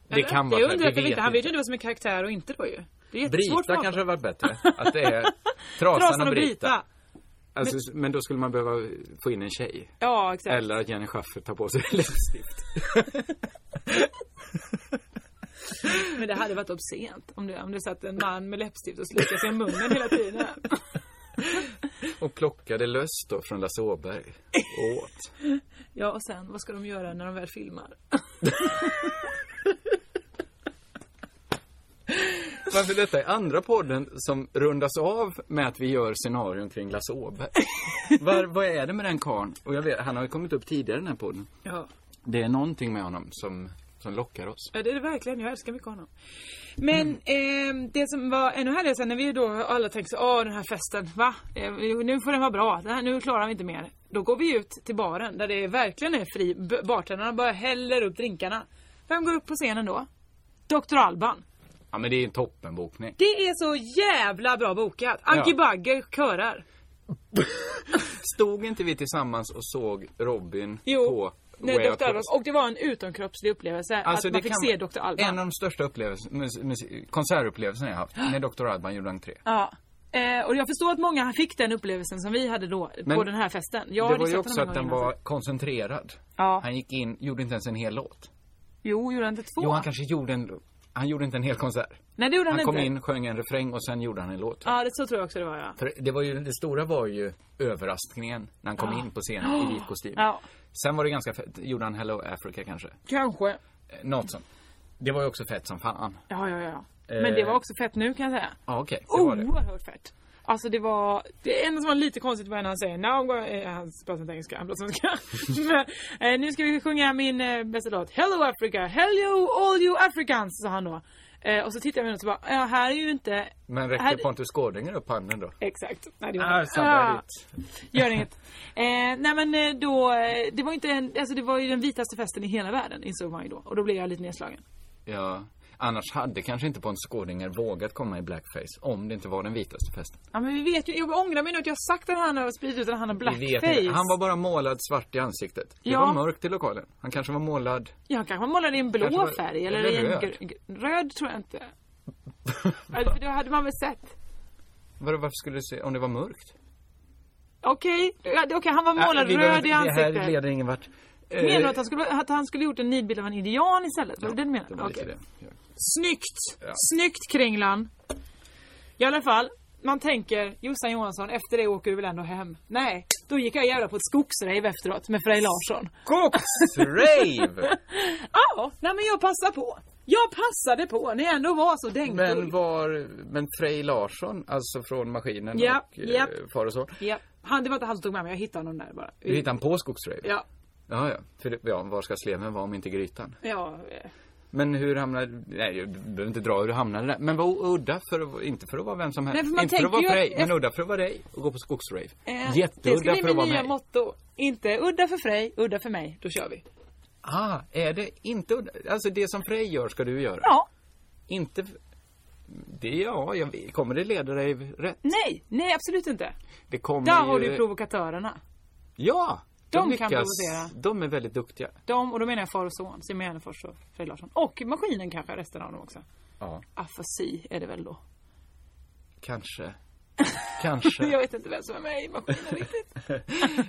Det kan vara det. så här, undrar vi jag för vet lite. Han inte. vet ju inte vad som är karaktär och inte då ju. Det är jättesvårt Brita för honom. kanske hade varit bättre. Att det är Trasan, och Brita. Alltså, s- men då skulle man behöva få in en tjej. Ja, exakt. Eller att Jenny Schaffer tar på sig läppstift. Men det hade varit obscent om det, om det satt en man med läppstift och slickade sig i munnen hela tiden. Och plockade löss då från Lasse Åberg. Och åt. Ja, och sen vad ska de göra när de väl filmar? Varför detta är andra podden som rundas av med att vi gör scenarion kring Lasse Åberg. Var, vad är det med den karln? Och jag vet, han har ju kommit upp tidigare i den här podden. Ja. Det är någonting med honom som, som lockar oss. Ja det är det verkligen, jag älskar mycket honom. Men ehm, det som var ännu härligare sen när vi då alla tänkte så, åh den här festen, va? Eh, nu får den vara bra, det här, nu klarar vi inte mer. Då går vi ut till baren där det verkligen är fri, B- bartendrarna bara häller upp drinkarna. Vem går upp på scenen då? Dr. Alban. Ja men det är en toppenbokning. Det är så jävla bra bokat. Anki Ja. Bagger körar. Stod inte vi tillsammans och såg Robin Jo, på Nej, Way Out Dr. Alban. West? Och det var en utomkroppslig upplevelse Alltså, att man det fick kan- se Dr. Alban. En av de största upplevelse- mus- mus- konsertupplevelserna jag haft, när Dr. Alban gjorde entré. Ja. Eh, och jag förstår att många fick den upplevelsen som vi hade då på Men den här festen. Jag det hade var ju sett också honom att en den gång innan. var koncentrerad. Ja. Han gick in, gjorde inte ens en hel låt. Jo, gjorde han inte två? Jo, han kanske gjorde en... Han gjorde inte en hel konsert. Nej, det gjorde han han kom inte. in, sjöng en refräng och sen gjorde han en låt. Ja, det så tror jag också det var ja. För det, var ju, det stora var ju överraskningen när han kom Ja. in på scenen i vit kostym. Ja. Sen var det ganska fett. Gjorde han Hello Africa kanske? Kanske. Eh, Något sånt. Det var ju också fett som fan. Ja, ja, ja. Men det Eh. var också fett nu kan jag säga. Ja, okej. det var det. Oerhört fett. Alltså det var, det enda som var lite konstigt var när han säger Now I'm going, eh, han pratar inte engelska, han pratar svenska. Men, eh, nu ska vi sjunga min eh, bästa låt. Hello Africa, hello all you Africans, sa han då. Eh, och så tittar jag och så bara, ja här är ju inte Men räcker här, Pontus Gårdinger upp handen då? Exakt. Nej, det Ah, var sabbar Gör inget. Eh, nej men eh, då, eh, det var inte en, alltså det var ju den vitaste festen i hela världen insåg man ju då. Och då blev jag lite nedslagen. Ja. Annars hade kanske inte Pontus Gårdinger vågat komma i blackface om det inte var den vitaste festen. Ja men vi vet ju, jag ångrar mig nu att jag har sagt att han har spridit ut att han har Vi vet inte. blackface. Han var bara målad svart i ansiktet. Det Ja. var mörkt i lokalen. Han kanske var målad... Ja, han kanske målade i en blå Kanske var- färg eller eller i en röd. gr- gr- röd tror jag inte. alltså, för då hade man väl sett. Vadå, varför skulle du se om det var mörkt? Okej, ja, det- okej han var Nej, målad vi behöver- röd i ansiktet. Det här leder ingen vart. Eh, Menar du att han, skulle, att han skulle gjort en nidbild av en indian istället? Var det det du menade? det var lite Okej. det. Ja. Snyggt! Ja. Snyggt Kringlan! I alla fall, man tänker Jossan Johansson, efter det åker du väl ändå hem? Nej, då gick jag jävla på ett skogsrave efteråt med Frej Larsson. Skogsrave! Ja, nej men jag passade på. Jag passade på när jag ändå var så dängfull. Men var, men Frej Larsson, alltså från Maskinen Ja, och eh, ja. Far och Son. Ja, han, det var inte han som tog med mig, jag hittade honom där bara. Du hittade han på Skogsrave? Ja, Ja, ja. För det, ja, var ska sleven vara om inte grytan? ja. eh, Men hur hamnade, nej du behöver inte dra hur du hamnade där. Men var udda för att, inte för att vara vem som Nej, helst. för man inte för att vara tänker för ju dig, att- men udda för att vara dig och gå på skogsrave. Eh, Det ska Jätteudda bli för mitt att vara nya mig. motto. Inte udda för Frej, udda för mig. Då kör vi. Ah, är det inte udda? Alltså det som Frej gör ska du göra? Ja. Inte, det, ja, jag, kommer det leda dig rätt? Nej, nej absolut inte. Det kommer Där ju... har du provokatörerna. Ja! De kan lyckas- provocera. De är väldigt duktiga. De, och då menar jag far och son, Simon Gärdenfors och Frej Larsson. Och maskinen kanske, resten av dem också. Ja, Afasi är det väl då. kanske. Kanske. Jag vet inte vem som är med i maskinen riktigt.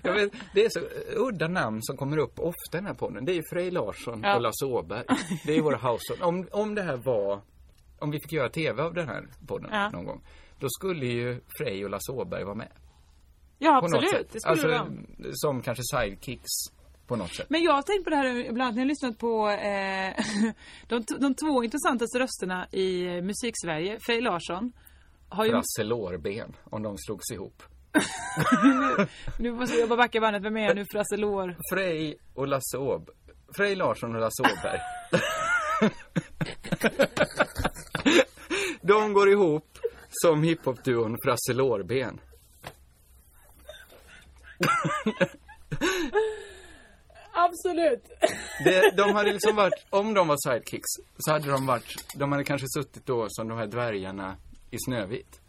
Jag vet, det är så eh, udda namn som kommer upp ofta i den här podden. Det är ju Frej Larsson Ja. och Lasse Åberg. Det är våra household. Om, om det här var, om vi fick göra tv av den här podden Ja. någon gång. Då skulle ju Frej och Lasse Åberg vara med. Ja På något absolut, sätt. det skulle alltså, alltså, Som kanske sidekicks på något sätt. Men jag har tänkt på det här ibland när jag har lyssnat på eh, de, t- de två intressantaste rösterna i eh, musik-Sverige. Frej Larsson har ju... Frasse Lårben, om de slogs ihop. Nu måste jag bara backa bandet. Vem är jag nu? Frasse Lår? Frej och Lasse Åb... Frej Larsson och Lasse Åberg. De går ihop som hiphopduon Frasse Lårben. Absolut! Det, de hade liksom varit, om de var sidekicks, så hade de varit, de hade kanske suttit då som de här dvärgarna i Snövit.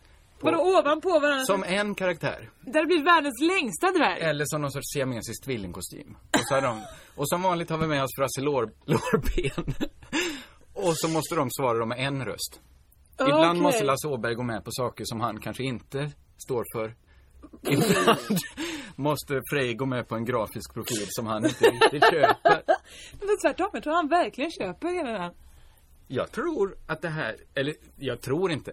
Vadå ovanpå varandra? Som en karaktär. Det hade blivit världens längsta dvärg. Eller som någon sorts siamesisk tvillingkostym. Och, så hade de, och som vanligt har vi med oss Frasse Lår, Lårben. Och så måste de svara dem med en röst. Ibland Okej. måste Lasse Åberg gå med på saker som han kanske inte står för. Ibland måste Frej gå med på en grafisk profil som han inte riktigt köper. Men tvärtom, jag tror han verkligen köper hela den. Jag tror att det här, eller jag tror inte.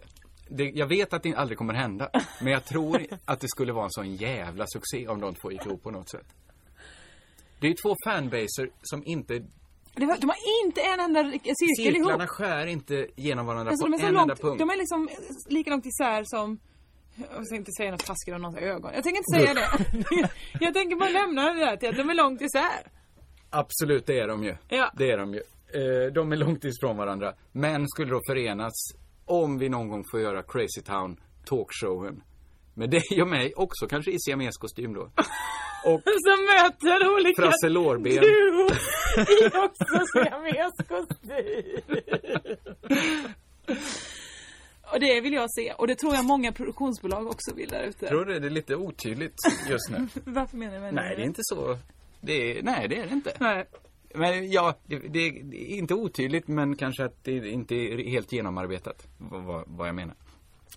Det, jag vet att det aldrig kommer hända. Men jag tror att det skulle vara en sån jävla succé om de två gick ihop på något sätt. Det är ju två fanbaser som inte, Det var, de har inte en enda rik- cirkel ihop. cirklarna skär inte genom varandra Alltså, på de är så en enda långt, punkt. de är liksom lika långt isär som jag ska inte säga något taskigt om någons ögon. Jag tänker inte säga det. Jag tänker bara lämna det där till att de är långt isär. Absolut, det är de ju. Ja. Det är de ju. Eh, De är långt ifrån varandra. Men skulle då förenas om vi någon gång får göra Crazy Town talkshowen. Med dig och mig också, kanske i siameskostym då. Och Som möter olika Frasse Lårben. duos i också siameskostym. Och det vill jag se. Och det tror jag många produktionsbolag också vill där ute. Tror du det är lite otydligt just nu? Varför menar du med nej, det är inte så. Det är, nej, det är det inte. Nej. Men ja, det, det är det är inte otydligt men kanske att det inte är helt genomarbetat. Vad, vad, vad jag menar.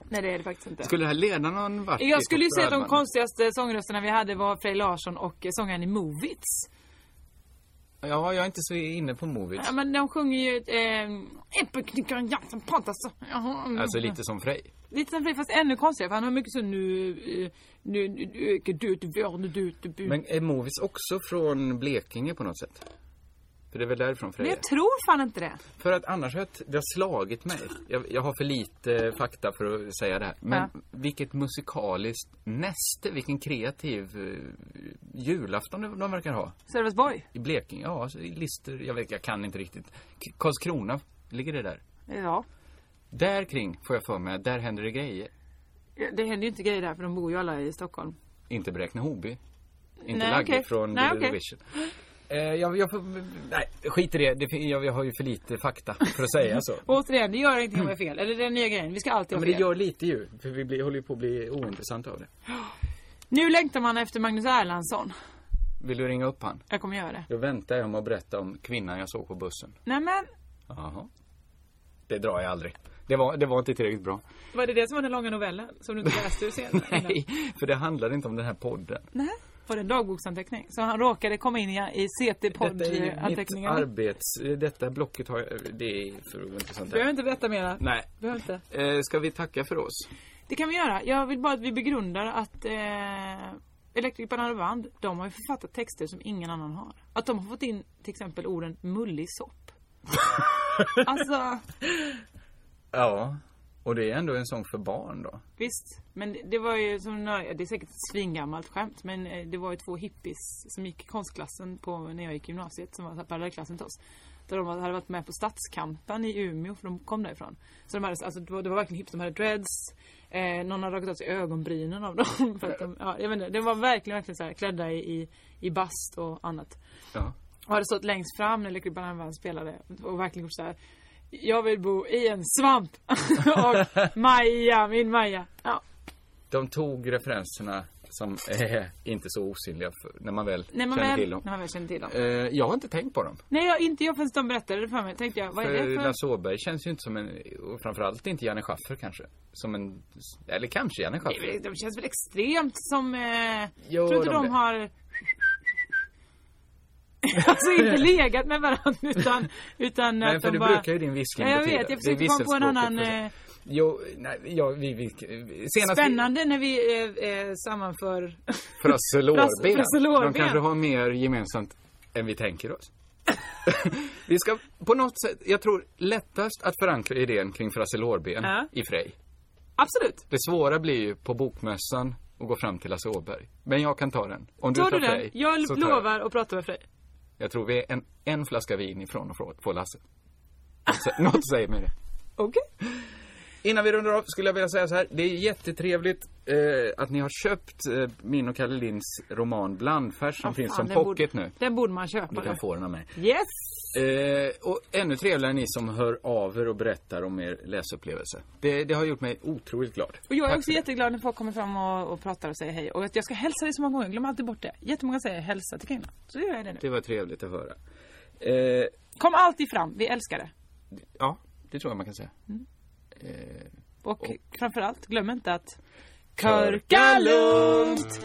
Nej, det är det faktiskt inte. Skulle det här leda någon vart? Jag skulle ju säga att de Rödman? konstigaste sångrösterna vi hade var Frej Larsson och eh, sångaren i Movits. Ja, jag är inte så inne på movies. Ja, men de sjunger ju ehm, ett... Epic Jansen Pantas. Alltså lite som Frej. mm. Lite som Frej, fast ännu konstigare för han har mycket så nu... eh, Nu nu ökar du till vår, nu du till bu. Men är Movis också från Blekinge på något sätt? För det är väl därifrån Men Freja? jag tror fan inte det. För att annars har jag t- det har slagit mig. Jag, jag har för lite eh, fakta för att säga det här. Men Ja. vilket musikaliskt näste, vilken kreativ eh, julafton de, de verkar ha. Sölvesborg. I Blekinge, ja, alltså, i Lister, jag vet, jag kan inte riktigt. K- Karlskrona, ligger det där? Ja. Där kring får jag för mig, att där händer det grejer. Det händer ju inte grejer där för de bor ju alla i Stockholm. Inte Bräkne-Hoby. Inte Nej, Lagge okej. från Nej, The okej. Eurovision. Eh, jag, jag, får- nej, skit i det. det fin- jag, jag har ju för lite fakta för att säga så. Och återigen, det gör ingenting om jag är fel. Eller det är den nya grejen. Vi ska alltid Ja, ha men det fel. gör lite ju. För vi blir, håller ju på att bli ointressanta av det. Nu längtar man efter Magnus Erlandsson. Vill du ringa upp han? Jag kommer göra det. Då väntar jag med att berätta om kvinnan jag såg på bussen. Nej men, Jaha. Det drar jag aldrig. Det var, det var inte tillräckligt bra. var det det som var den långa novellen? Som du inte läste ur sen? Nej, för det handlade inte om den här podden. Nej. Var det en dagboksanteckning? Så han råkade komma in i, i Detta är ju mitt CT-poddanteckningarna? Du arbets... Detta blocket har jag... Det är för ointressant. behöver inte berätta mera. Nej. Behöver inte. Eh, ska vi tacka för oss? Det kan vi göra. Jag vill bara att vi begrundar att eh, Electric Banana Band, de har ju författat texter som ingen annan har. Att de har fått in till exempel orden mullig sopp. alltså, Ja. Och Och det är ändå en sång för barn då. Visst, men det var ju som när- det är säkert ett svingammalt skämt men eh, det var ju två hippies som gick i konstklassen på, när jag gick i gymnasiet som var så här parallellklassen till oss. Där de hade varit med på Stadskampen i Umeå för de kom därifrån. Så de hade, alltså, det, var, det var verkligen hipps, de hade dreads. Eh, någon hade rakat av sig ögonbrynen av dem. För att de, ja, jag vet inte, de var verkligen, verkligen så här, klädda i, i, i bast och annat. Ja. Och hade stått längst fram när Lycklig Bananvagn spelade och verkligen gjort så här. Jag vill bo i en svamp. och Maja, min Maja. Ja. De tog referenserna som är inte så osynliga för, när man väl När man känner väl, till dem. när man väl känner till dem. Eh, jag har inte tänkt på dem. Nej, jag, inte jag förrän de berättade det för mig. Tänkte jag, vad är För det för... Lasse Åberg känns ju inte som en, och framförallt inte Janne Schaffer kanske. Som en, eller kanske Janne Schaffer. De känns väl extremt som... Eh, Jo, tror inte de de, det. har... alltså inte legat med varandra utan... utan Nej, att för de det bara... brukar ju din viskning Ja, jag betyda. vet. Jag Det är försökte komma på en visselspråket annan... för- Eh, Jo, nej, ja, vi, vi, senast spännande när vi eh, eh, sammanför... vi... Frösselårben. Frösselårben. De kanske har mer gemensamt än vi tänker oss. vi ska på något sätt, jag tror lättast att förankra idén kring Frösselårben Ja. i Frej. Absolut. Det svåra blir ju på bokmässan och gå fram till Lasse Åberg. Men jag kan ta den. Om du Tar tar, du den? Frej, så Jag tar jag. lovar att prata med Frej. Jag tror vi är en, en flaska vin ifrån och få- få Lasse. Något sä- Något säger mig det. Okej. Innan vi rundar av skulle jag vilja säga så här. Det är jättetrevligt eh, att ni har köpt eh, min och Kalle Linds roman Blandfärs som Ja, fan, finns som den pocket borde, nu. Den borde man köpa. Du kan nu. få den av mig. Yes! Eh, och ännu trevligare ni som hör av er och berättar om er läsupplevelse. Det, det har gjort mig otroligt glad. Och jag är Tack också jätteglad när folk kommer fram och, och pratar och säger hej. Och att jag ska hälsa dig så många gånger. Glöm alltid bort det. Jättemånga säger hälsa till kvinnan. Så gör jag det nu. Det var trevligt att höra. Eh, Kom alltid fram. Vi älskar det. ja, det tror jag man kan säga. Eh, Och, Och- framförallt, glöm inte att Körka lugnt!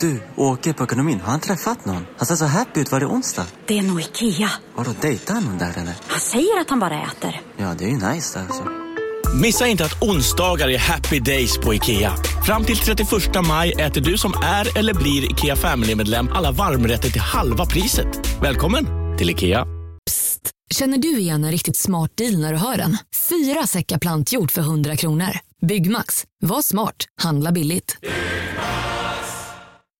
Du, åker på ekonomin. Har han träffat någon? Han ser så happy ut. Var det onsdag? Det är nog Ikea. Har du dejtat någon där eller? Han säger att han bara äter. Ja, det är ju nice alltså. Missa inte att onsdagar är happy days på IKEA. Fram till 31 maj äter du som är eller blir IKEA Family-medlem alla varmrätter till halva priset. Välkommen till IKEA. Känner du igen en riktigt smart deal när du hör den? Fyra säckar plantjord för 100 kronor. Byggmax. Var smart. Handla billigt.